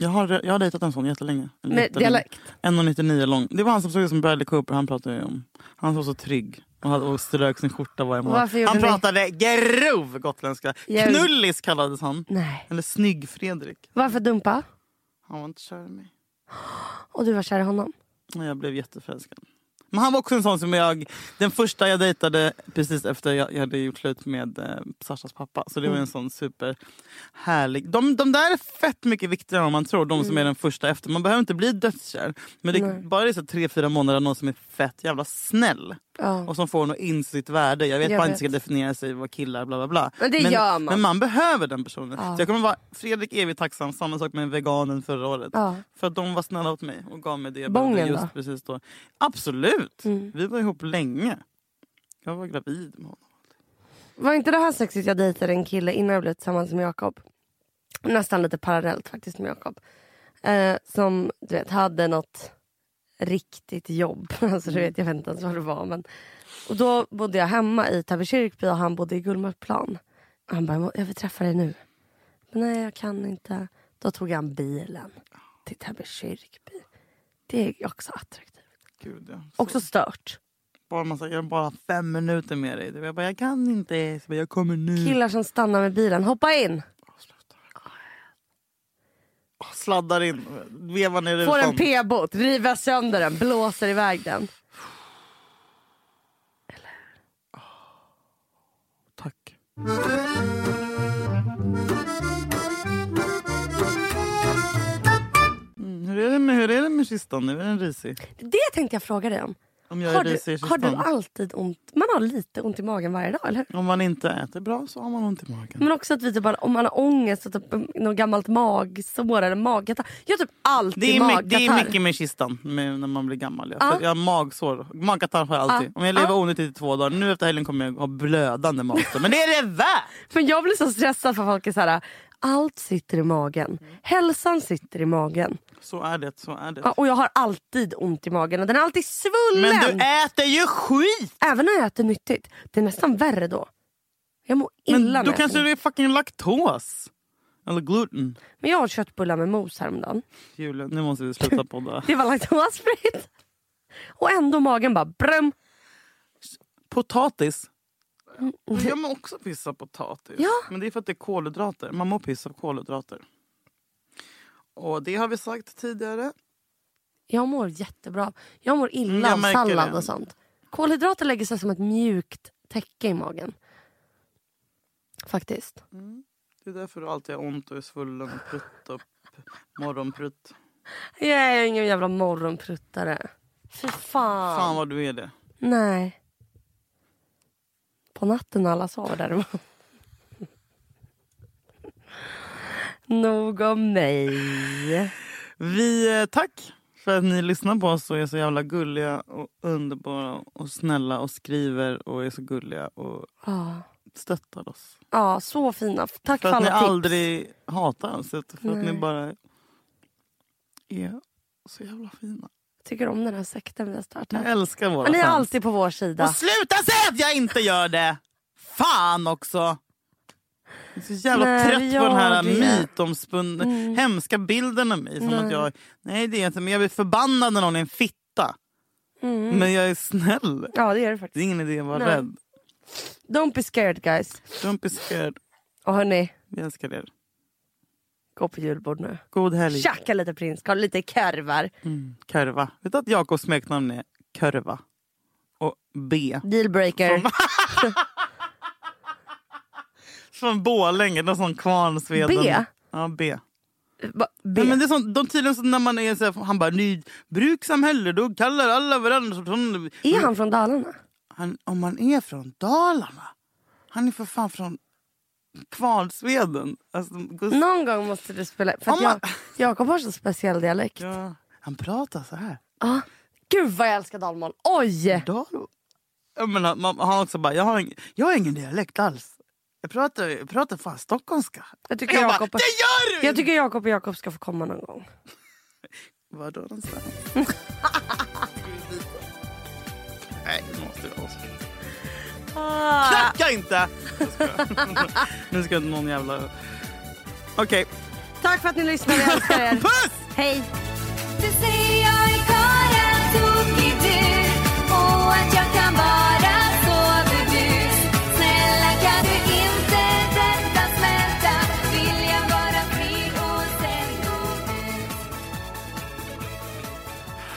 [SPEAKER 4] Jag har, jag har dejtat en sån jättelänge. Eller
[SPEAKER 3] Med
[SPEAKER 4] jättelänge.
[SPEAKER 3] dialekt?
[SPEAKER 4] 1,99 lång. Det var han som såg ut som Bradley Cooper, han pratade ju om. Han var så trygg och, hade, och strök sin skjorta varje
[SPEAKER 3] Varför
[SPEAKER 4] morgon.
[SPEAKER 3] gjorde
[SPEAKER 4] Han
[SPEAKER 3] ni-
[SPEAKER 4] pratade grov gotländska.
[SPEAKER 3] Jag-
[SPEAKER 4] Knullis kallades han.
[SPEAKER 3] Nej.
[SPEAKER 4] Eller Snygg-Fredrik.
[SPEAKER 3] Varför dumpa?
[SPEAKER 4] Han var inte kär i mig.
[SPEAKER 3] Och du var kär i honom?
[SPEAKER 4] Och jag blev jätteförälskad. Men han var också en sån som jag, den första jag dejtade precis efter jag, jag hade gjort slut med eh, Sashas pappa. Så
[SPEAKER 3] Mm.
[SPEAKER 4] det var en sån superhärlig. De, de där är fett mycket viktigare än vad man tror, de som är den första efter. Man behöver inte bli dödskär. Men det,
[SPEAKER 3] Mm. Nej.
[SPEAKER 4] bara det är så tre, fyra månader någon som är fett jävla snäll.
[SPEAKER 3] Ja.
[SPEAKER 4] Och som får en att inse sitt värde. Jag vet
[SPEAKER 3] Jag
[SPEAKER 4] att man
[SPEAKER 3] vet.
[SPEAKER 4] inte ska definiera sig vad killar bla bla bla.
[SPEAKER 3] Men det gör man.
[SPEAKER 4] Men man behöver den personen. Så jag kommer vara Fredrik evigt tacksam. Samma sak med veganen förra året.
[SPEAKER 3] Ja.
[SPEAKER 4] För att de var snälla mot mig och gav mig det jag
[SPEAKER 3] Bången
[SPEAKER 4] behövde just
[SPEAKER 3] då? Mm.
[SPEAKER 4] precis då. Absolut! Vi var ihop länge. Jag var gravid med honom.
[SPEAKER 3] Var inte det här sexigt jag dejtade en kille innan jag blev tillsammans med Jakob? Nästan lite parallellt faktiskt med Jakob. Eh, som du vet hade något riktigt jobb. Alltså, du vet, jag vet inte ens vad det var. Men... Och då bodde jag hemma i Täby kyrkby och han bodde i Gullmarsplan. Han bara, jag vill träffa dig nu. Men nej jag kan inte. Då tog han bilen till Täby kyrkby. Det är också attraktivt.
[SPEAKER 4] Gud, ja. Så
[SPEAKER 3] Också stört.
[SPEAKER 4] bara man säger, jag har bara fem minuter med dig. Jag bara, jag kan inte. Så bara, jag kommer nu.
[SPEAKER 3] Killar som stannar med bilen, hoppa in!
[SPEAKER 4] Sladdar in, vevar ner
[SPEAKER 3] Får
[SPEAKER 4] rutan.
[SPEAKER 3] en p-bot, river sönder den, blåser iväg den.
[SPEAKER 4] Tack. Mm, hur, är det med, hur är det med kistan nu? Är den risig?
[SPEAKER 3] Det tänkte jag fråga dig om.
[SPEAKER 4] Om jag
[SPEAKER 3] Har
[SPEAKER 4] är
[SPEAKER 3] du,
[SPEAKER 4] risig i
[SPEAKER 3] har du
[SPEAKER 4] kistan?
[SPEAKER 3] alltid ont? Man har lite ont i magen varje dag, eller hur?
[SPEAKER 4] Om man inte äter bra så har man ont i magen.
[SPEAKER 3] Men också att vi typ har, om man har ångest och typ något gammalt magsår eller magkatarr. Jag har typ alltid
[SPEAKER 4] Det är, my-
[SPEAKER 3] magkatarr.
[SPEAKER 4] det är mycket med kistan med, när man blir gammal. Jag,
[SPEAKER 3] Ja.
[SPEAKER 4] jag har magsår. Magkatarr har jag alltid.
[SPEAKER 3] Ja.
[SPEAKER 4] Om jag lever onyttigt i två dagar. Nu efter helgen kommer jag ha blödande magsår. Men det är det värt!
[SPEAKER 3] Men jag blir så stressad för folk är så här, allt sitter i magen. Hälsan sitter i magen.
[SPEAKER 4] Så är det. Så är det.
[SPEAKER 3] Ja, och jag har alltid ont i magen och den är alltid svullen.
[SPEAKER 4] Men du äter ju skit!
[SPEAKER 3] Även när jag äter nyttigt. Det är nästan värre då. Jag mår illa
[SPEAKER 4] Men
[SPEAKER 3] när
[SPEAKER 4] då
[SPEAKER 3] jag
[SPEAKER 4] kanske
[SPEAKER 3] äter
[SPEAKER 4] det är fucking laktos. Eller gluten.
[SPEAKER 3] Men jag åt köttbullar med mos häromdagen.
[SPEAKER 4] Julen, nu måste vi sluta podda.
[SPEAKER 3] Det var laktosfritt. Och ändå magen bara brum.
[SPEAKER 4] Potatis. Jag mår också piss av potatis.
[SPEAKER 3] Ja.
[SPEAKER 4] Men det är för att det är kolhydrater. Man mår piss av kolhydrater. Och det har vi sagt tidigare.
[SPEAKER 3] Jag mår jättebra. Jag mår illa
[SPEAKER 4] Mm, Jag
[SPEAKER 3] av
[SPEAKER 4] märker
[SPEAKER 3] sallad
[SPEAKER 4] det.
[SPEAKER 3] och sånt. Kolhydrater lägger sig som ett mjukt täcke i magen. Faktiskt.
[SPEAKER 4] Det är därför du alltid har ont och är svullen och prutt och p- morgonprutt.
[SPEAKER 3] Jag är ingen jävla morgonpruttare. Fy fan.
[SPEAKER 4] Fan vad du är det.
[SPEAKER 3] Nej. På natten när alla sover däremot. Nog om mig.
[SPEAKER 4] Vi, eh, tack för att ni lyssnar på oss och är så jävla gulliga och underbara och snälla och skriver och är så gulliga och
[SPEAKER 3] Ja,
[SPEAKER 4] stöttar oss.
[SPEAKER 3] ja så fina. Tack
[SPEAKER 4] För
[SPEAKER 3] för,
[SPEAKER 4] att ni
[SPEAKER 3] alla tips.
[SPEAKER 4] aldrig hatar oss utan för att
[SPEAKER 3] Nej.
[SPEAKER 4] ni bara är så jävla fina.
[SPEAKER 3] tycker om den här sekten vi har
[SPEAKER 4] Jag
[SPEAKER 3] startat.
[SPEAKER 4] älskar våra
[SPEAKER 3] Men ni är
[SPEAKER 4] fans.
[SPEAKER 3] alltid på vår sida.
[SPEAKER 4] Och sluta säga att jag inte gör det! Fan också! Jag är så jävla
[SPEAKER 3] Nej, Mm. vi
[SPEAKER 4] trött på den
[SPEAKER 3] gör
[SPEAKER 4] här
[SPEAKER 3] det.
[SPEAKER 4] mytomspunna, hemska bilden av mig. Som att jag, nej det är jag inte, men jag blir förbannad när någon är en fitta. Men jag är snäll.
[SPEAKER 3] Ja det är det
[SPEAKER 4] Det är
[SPEAKER 3] faktiskt.
[SPEAKER 4] ingen idé att vara
[SPEAKER 3] Mm. Nej.
[SPEAKER 4] rädd.
[SPEAKER 3] Don't be scared guys.
[SPEAKER 4] Don't be scared.
[SPEAKER 3] Och hörni,
[SPEAKER 4] Vi älskar er.
[SPEAKER 3] gå på julbord nu.
[SPEAKER 4] God helg.
[SPEAKER 3] Tjacka lite prinskorv, lite korvar.
[SPEAKER 4] Körva. Vet du att Jakobs smeknamn är Körva? Och B.
[SPEAKER 3] Dealbreaker.
[SPEAKER 4] Från Borlänge, någon sån Kvarnsveden.
[SPEAKER 3] B?
[SPEAKER 4] Ja, B.
[SPEAKER 3] Va- B.
[SPEAKER 4] Nej, men det är sånt, de tydligen så när man är så här, han bara ny brukssamhälle, då kallar alla varandra så- sån-
[SPEAKER 3] Är han från Dalarna?
[SPEAKER 4] han, Om man är från Dalarna, han är för fan från Kvarnsveden. Alltså, Gust-
[SPEAKER 3] Någon gång måste du spela. För att
[SPEAKER 4] Om man-
[SPEAKER 3] jag, Jakob har så speciell dialekt.
[SPEAKER 4] ja, han pratar så här.
[SPEAKER 3] Ah, gud vad jag älskar dalmål. Oj!
[SPEAKER 4] Dal- ja, men han, man, han också bara, jag har, ing, jag har ingen dialekt alls. Jag pratar, jag pratar fan stockholmska.
[SPEAKER 3] Jag tycker
[SPEAKER 4] Jag bara,
[SPEAKER 3] Jakob
[SPEAKER 4] det gör du!
[SPEAKER 3] jag tycker Jakob och Jakob ska få komma någon gång.
[SPEAKER 4] Vadå någonstans? Nej, det måste vara så.
[SPEAKER 3] Ah.
[SPEAKER 4] Knacka inte! Jag skojar. nu ska någon jävla... Okej.
[SPEAKER 3] Tack för att ni lyssnade, jag älskar er.
[SPEAKER 4] Puss!
[SPEAKER 3] Hej!
[SPEAKER 6] Du ser jag är galen, tokig du och att jag kan vara så burdus Snälla kan du inte vänta, smälta Vill jag vara fri och sen gå ut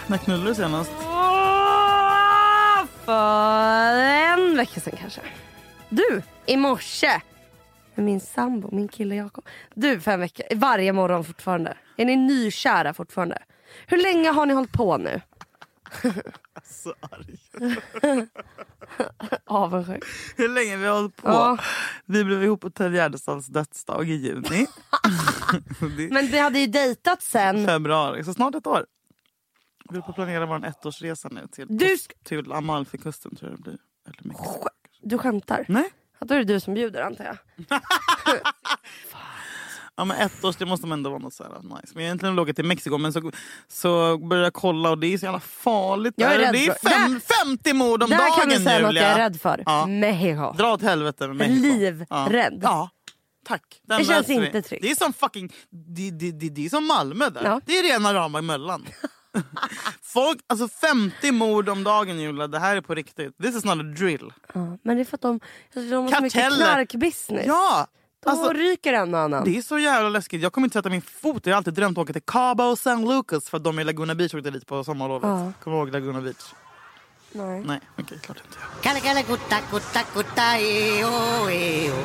[SPEAKER 4] När knullade du senast?
[SPEAKER 3] Åh, För en vecka sedan kanske. Du, i morse. Med min sambo, min kille Jakob. Du, fem veckor. Varje morgon fortfarande. Är ni nykära fortfarande? Hur länge har ni hållit på nu?
[SPEAKER 4] Så arg.
[SPEAKER 3] Avundsjuk.
[SPEAKER 4] Hur länge vi har hållit på.
[SPEAKER 3] Ja.
[SPEAKER 4] Vi blev ihop på Ted Gärdestads dödsdag i juni. det är
[SPEAKER 3] Men vi hade ju dejtat sen.
[SPEAKER 4] februari, så snart ett år. Vi håller på att planera vår ettårsresa nu till,
[SPEAKER 3] Du sk-
[SPEAKER 4] till Amalfikusten tror jag det blir. Eller Mexiko.
[SPEAKER 3] Du skämtar?
[SPEAKER 4] Nej.
[SPEAKER 3] Ja, Då är det du som bjuder antar jag.
[SPEAKER 4] Ja, men ett års, det måste man ändå vara något så här nice. Men egentligen vill jag åka till Mexiko men så, så började jag kolla och det är så jävla farligt
[SPEAKER 3] Jag är
[SPEAKER 4] där.
[SPEAKER 3] rädd
[SPEAKER 4] Och Det är
[SPEAKER 3] för-
[SPEAKER 4] fem, 50 mord om
[SPEAKER 3] Där
[SPEAKER 4] dagen
[SPEAKER 3] kan vi säga något
[SPEAKER 4] Julia.
[SPEAKER 3] jag är rädd för.
[SPEAKER 4] Ja.
[SPEAKER 3] Mexiko.
[SPEAKER 4] Dra åt helvete med Mexiko.
[SPEAKER 3] Livrädd.
[SPEAKER 4] Ja. ja. Tack. Den
[SPEAKER 3] Det känns
[SPEAKER 4] löser vi.
[SPEAKER 3] inte tryggt.
[SPEAKER 4] Det är som fucking... Det, det, det, det är som Malmö där.
[SPEAKER 3] Ja.
[SPEAKER 4] Det är rena rama emellan. Folk, alltså 50 mord om dagen Julia, det här är på riktigt. This is not a drill.
[SPEAKER 3] Ja, men det är för att de, de har så mycket
[SPEAKER 4] Karteller.
[SPEAKER 3] knarkbusiness.
[SPEAKER 4] Ja!
[SPEAKER 3] Då
[SPEAKER 4] Alltså,
[SPEAKER 3] ryker en och annan.
[SPEAKER 4] det är så jävla läskigt. Jag kommer inte sätta min fot. Jag har alltid drömt om att åka till Cabo och San Lucas för att de i Laguna Beach åkte dit på sommarlovet.
[SPEAKER 3] Ja.
[SPEAKER 4] Kommer du ihåg Laguna Beach?
[SPEAKER 3] Nej.
[SPEAKER 4] Nej, okej, klart inte.
[SPEAKER 7] Kalle, kalle, gutta, gutta, gutta, eh, oh, eh, oh.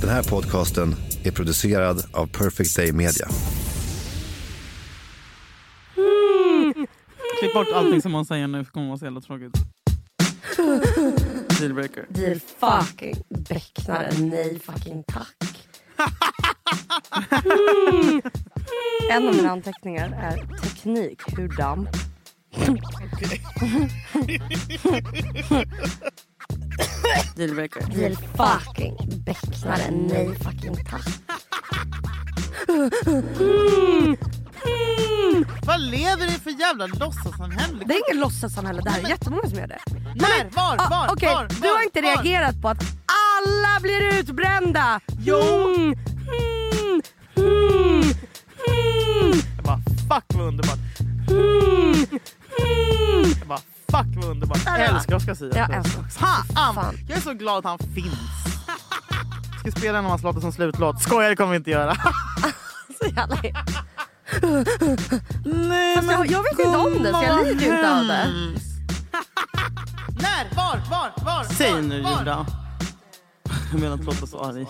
[SPEAKER 8] Den här podcasten är producerad av Perfect Day Media.
[SPEAKER 3] Mm.
[SPEAKER 4] Klipp bort allting som hon säger nu för det kommer vara så jävla tråkigt. Dealbreaker.
[SPEAKER 3] Deal fucking becknare. Nej fucking tack. Mm. En av mina anteckningar är teknik, hur damm.
[SPEAKER 4] Dealbreaker.
[SPEAKER 3] Deal fucking becknare. Nej fucking tack.
[SPEAKER 4] Vad lever det för jävla låtsassamhälle?
[SPEAKER 3] Det är inget låtsassamhälle det här är jättemånga som gör det.
[SPEAKER 4] När? Var?
[SPEAKER 3] Ah,
[SPEAKER 4] Var?
[SPEAKER 3] okej,
[SPEAKER 4] var?
[SPEAKER 3] Du har
[SPEAKER 4] var,
[SPEAKER 3] inte
[SPEAKER 4] var?
[SPEAKER 3] reagerat på att alla blir utbrända.
[SPEAKER 4] Jo.
[SPEAKER 3] Mm. Mm. Mm. Mm.
[SPEAKER 4] Jag bara fuck vad underbart.
[SPEAKER 3] Mm.
[SPEAKER 4] Jag bara fuck vad underbart. Jag älskar Oscar Zia.
[SPEAKER 3] Jag älskar också.
[SPEAKER 4] Fan,
[SPEAKER 3] Fan.
[SPEAKER 4] Jag är så glad att han finns. Ska vi spela en av hans låtar som slutlåt? Skojar det kommer vi inte göra.
[SPEAKER 3] Så jävla het.
[SPEAKER 4] Nej,
[SPEAKER 3] Fast jag, jag vet inte om det så jag lider ju inte av det.
[SPEAKER 4] När? Var? Var? Var? Säg nu Julia. Jag menar att låta så arg.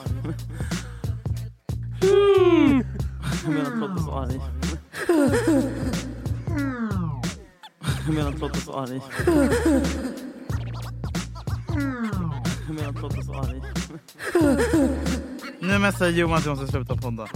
[SPEAKER 4] Jag menar att låta så arg. Jag menar att låta så arg. Jag menar att låta så arg. Nu messar Johan till oss att sluta podda.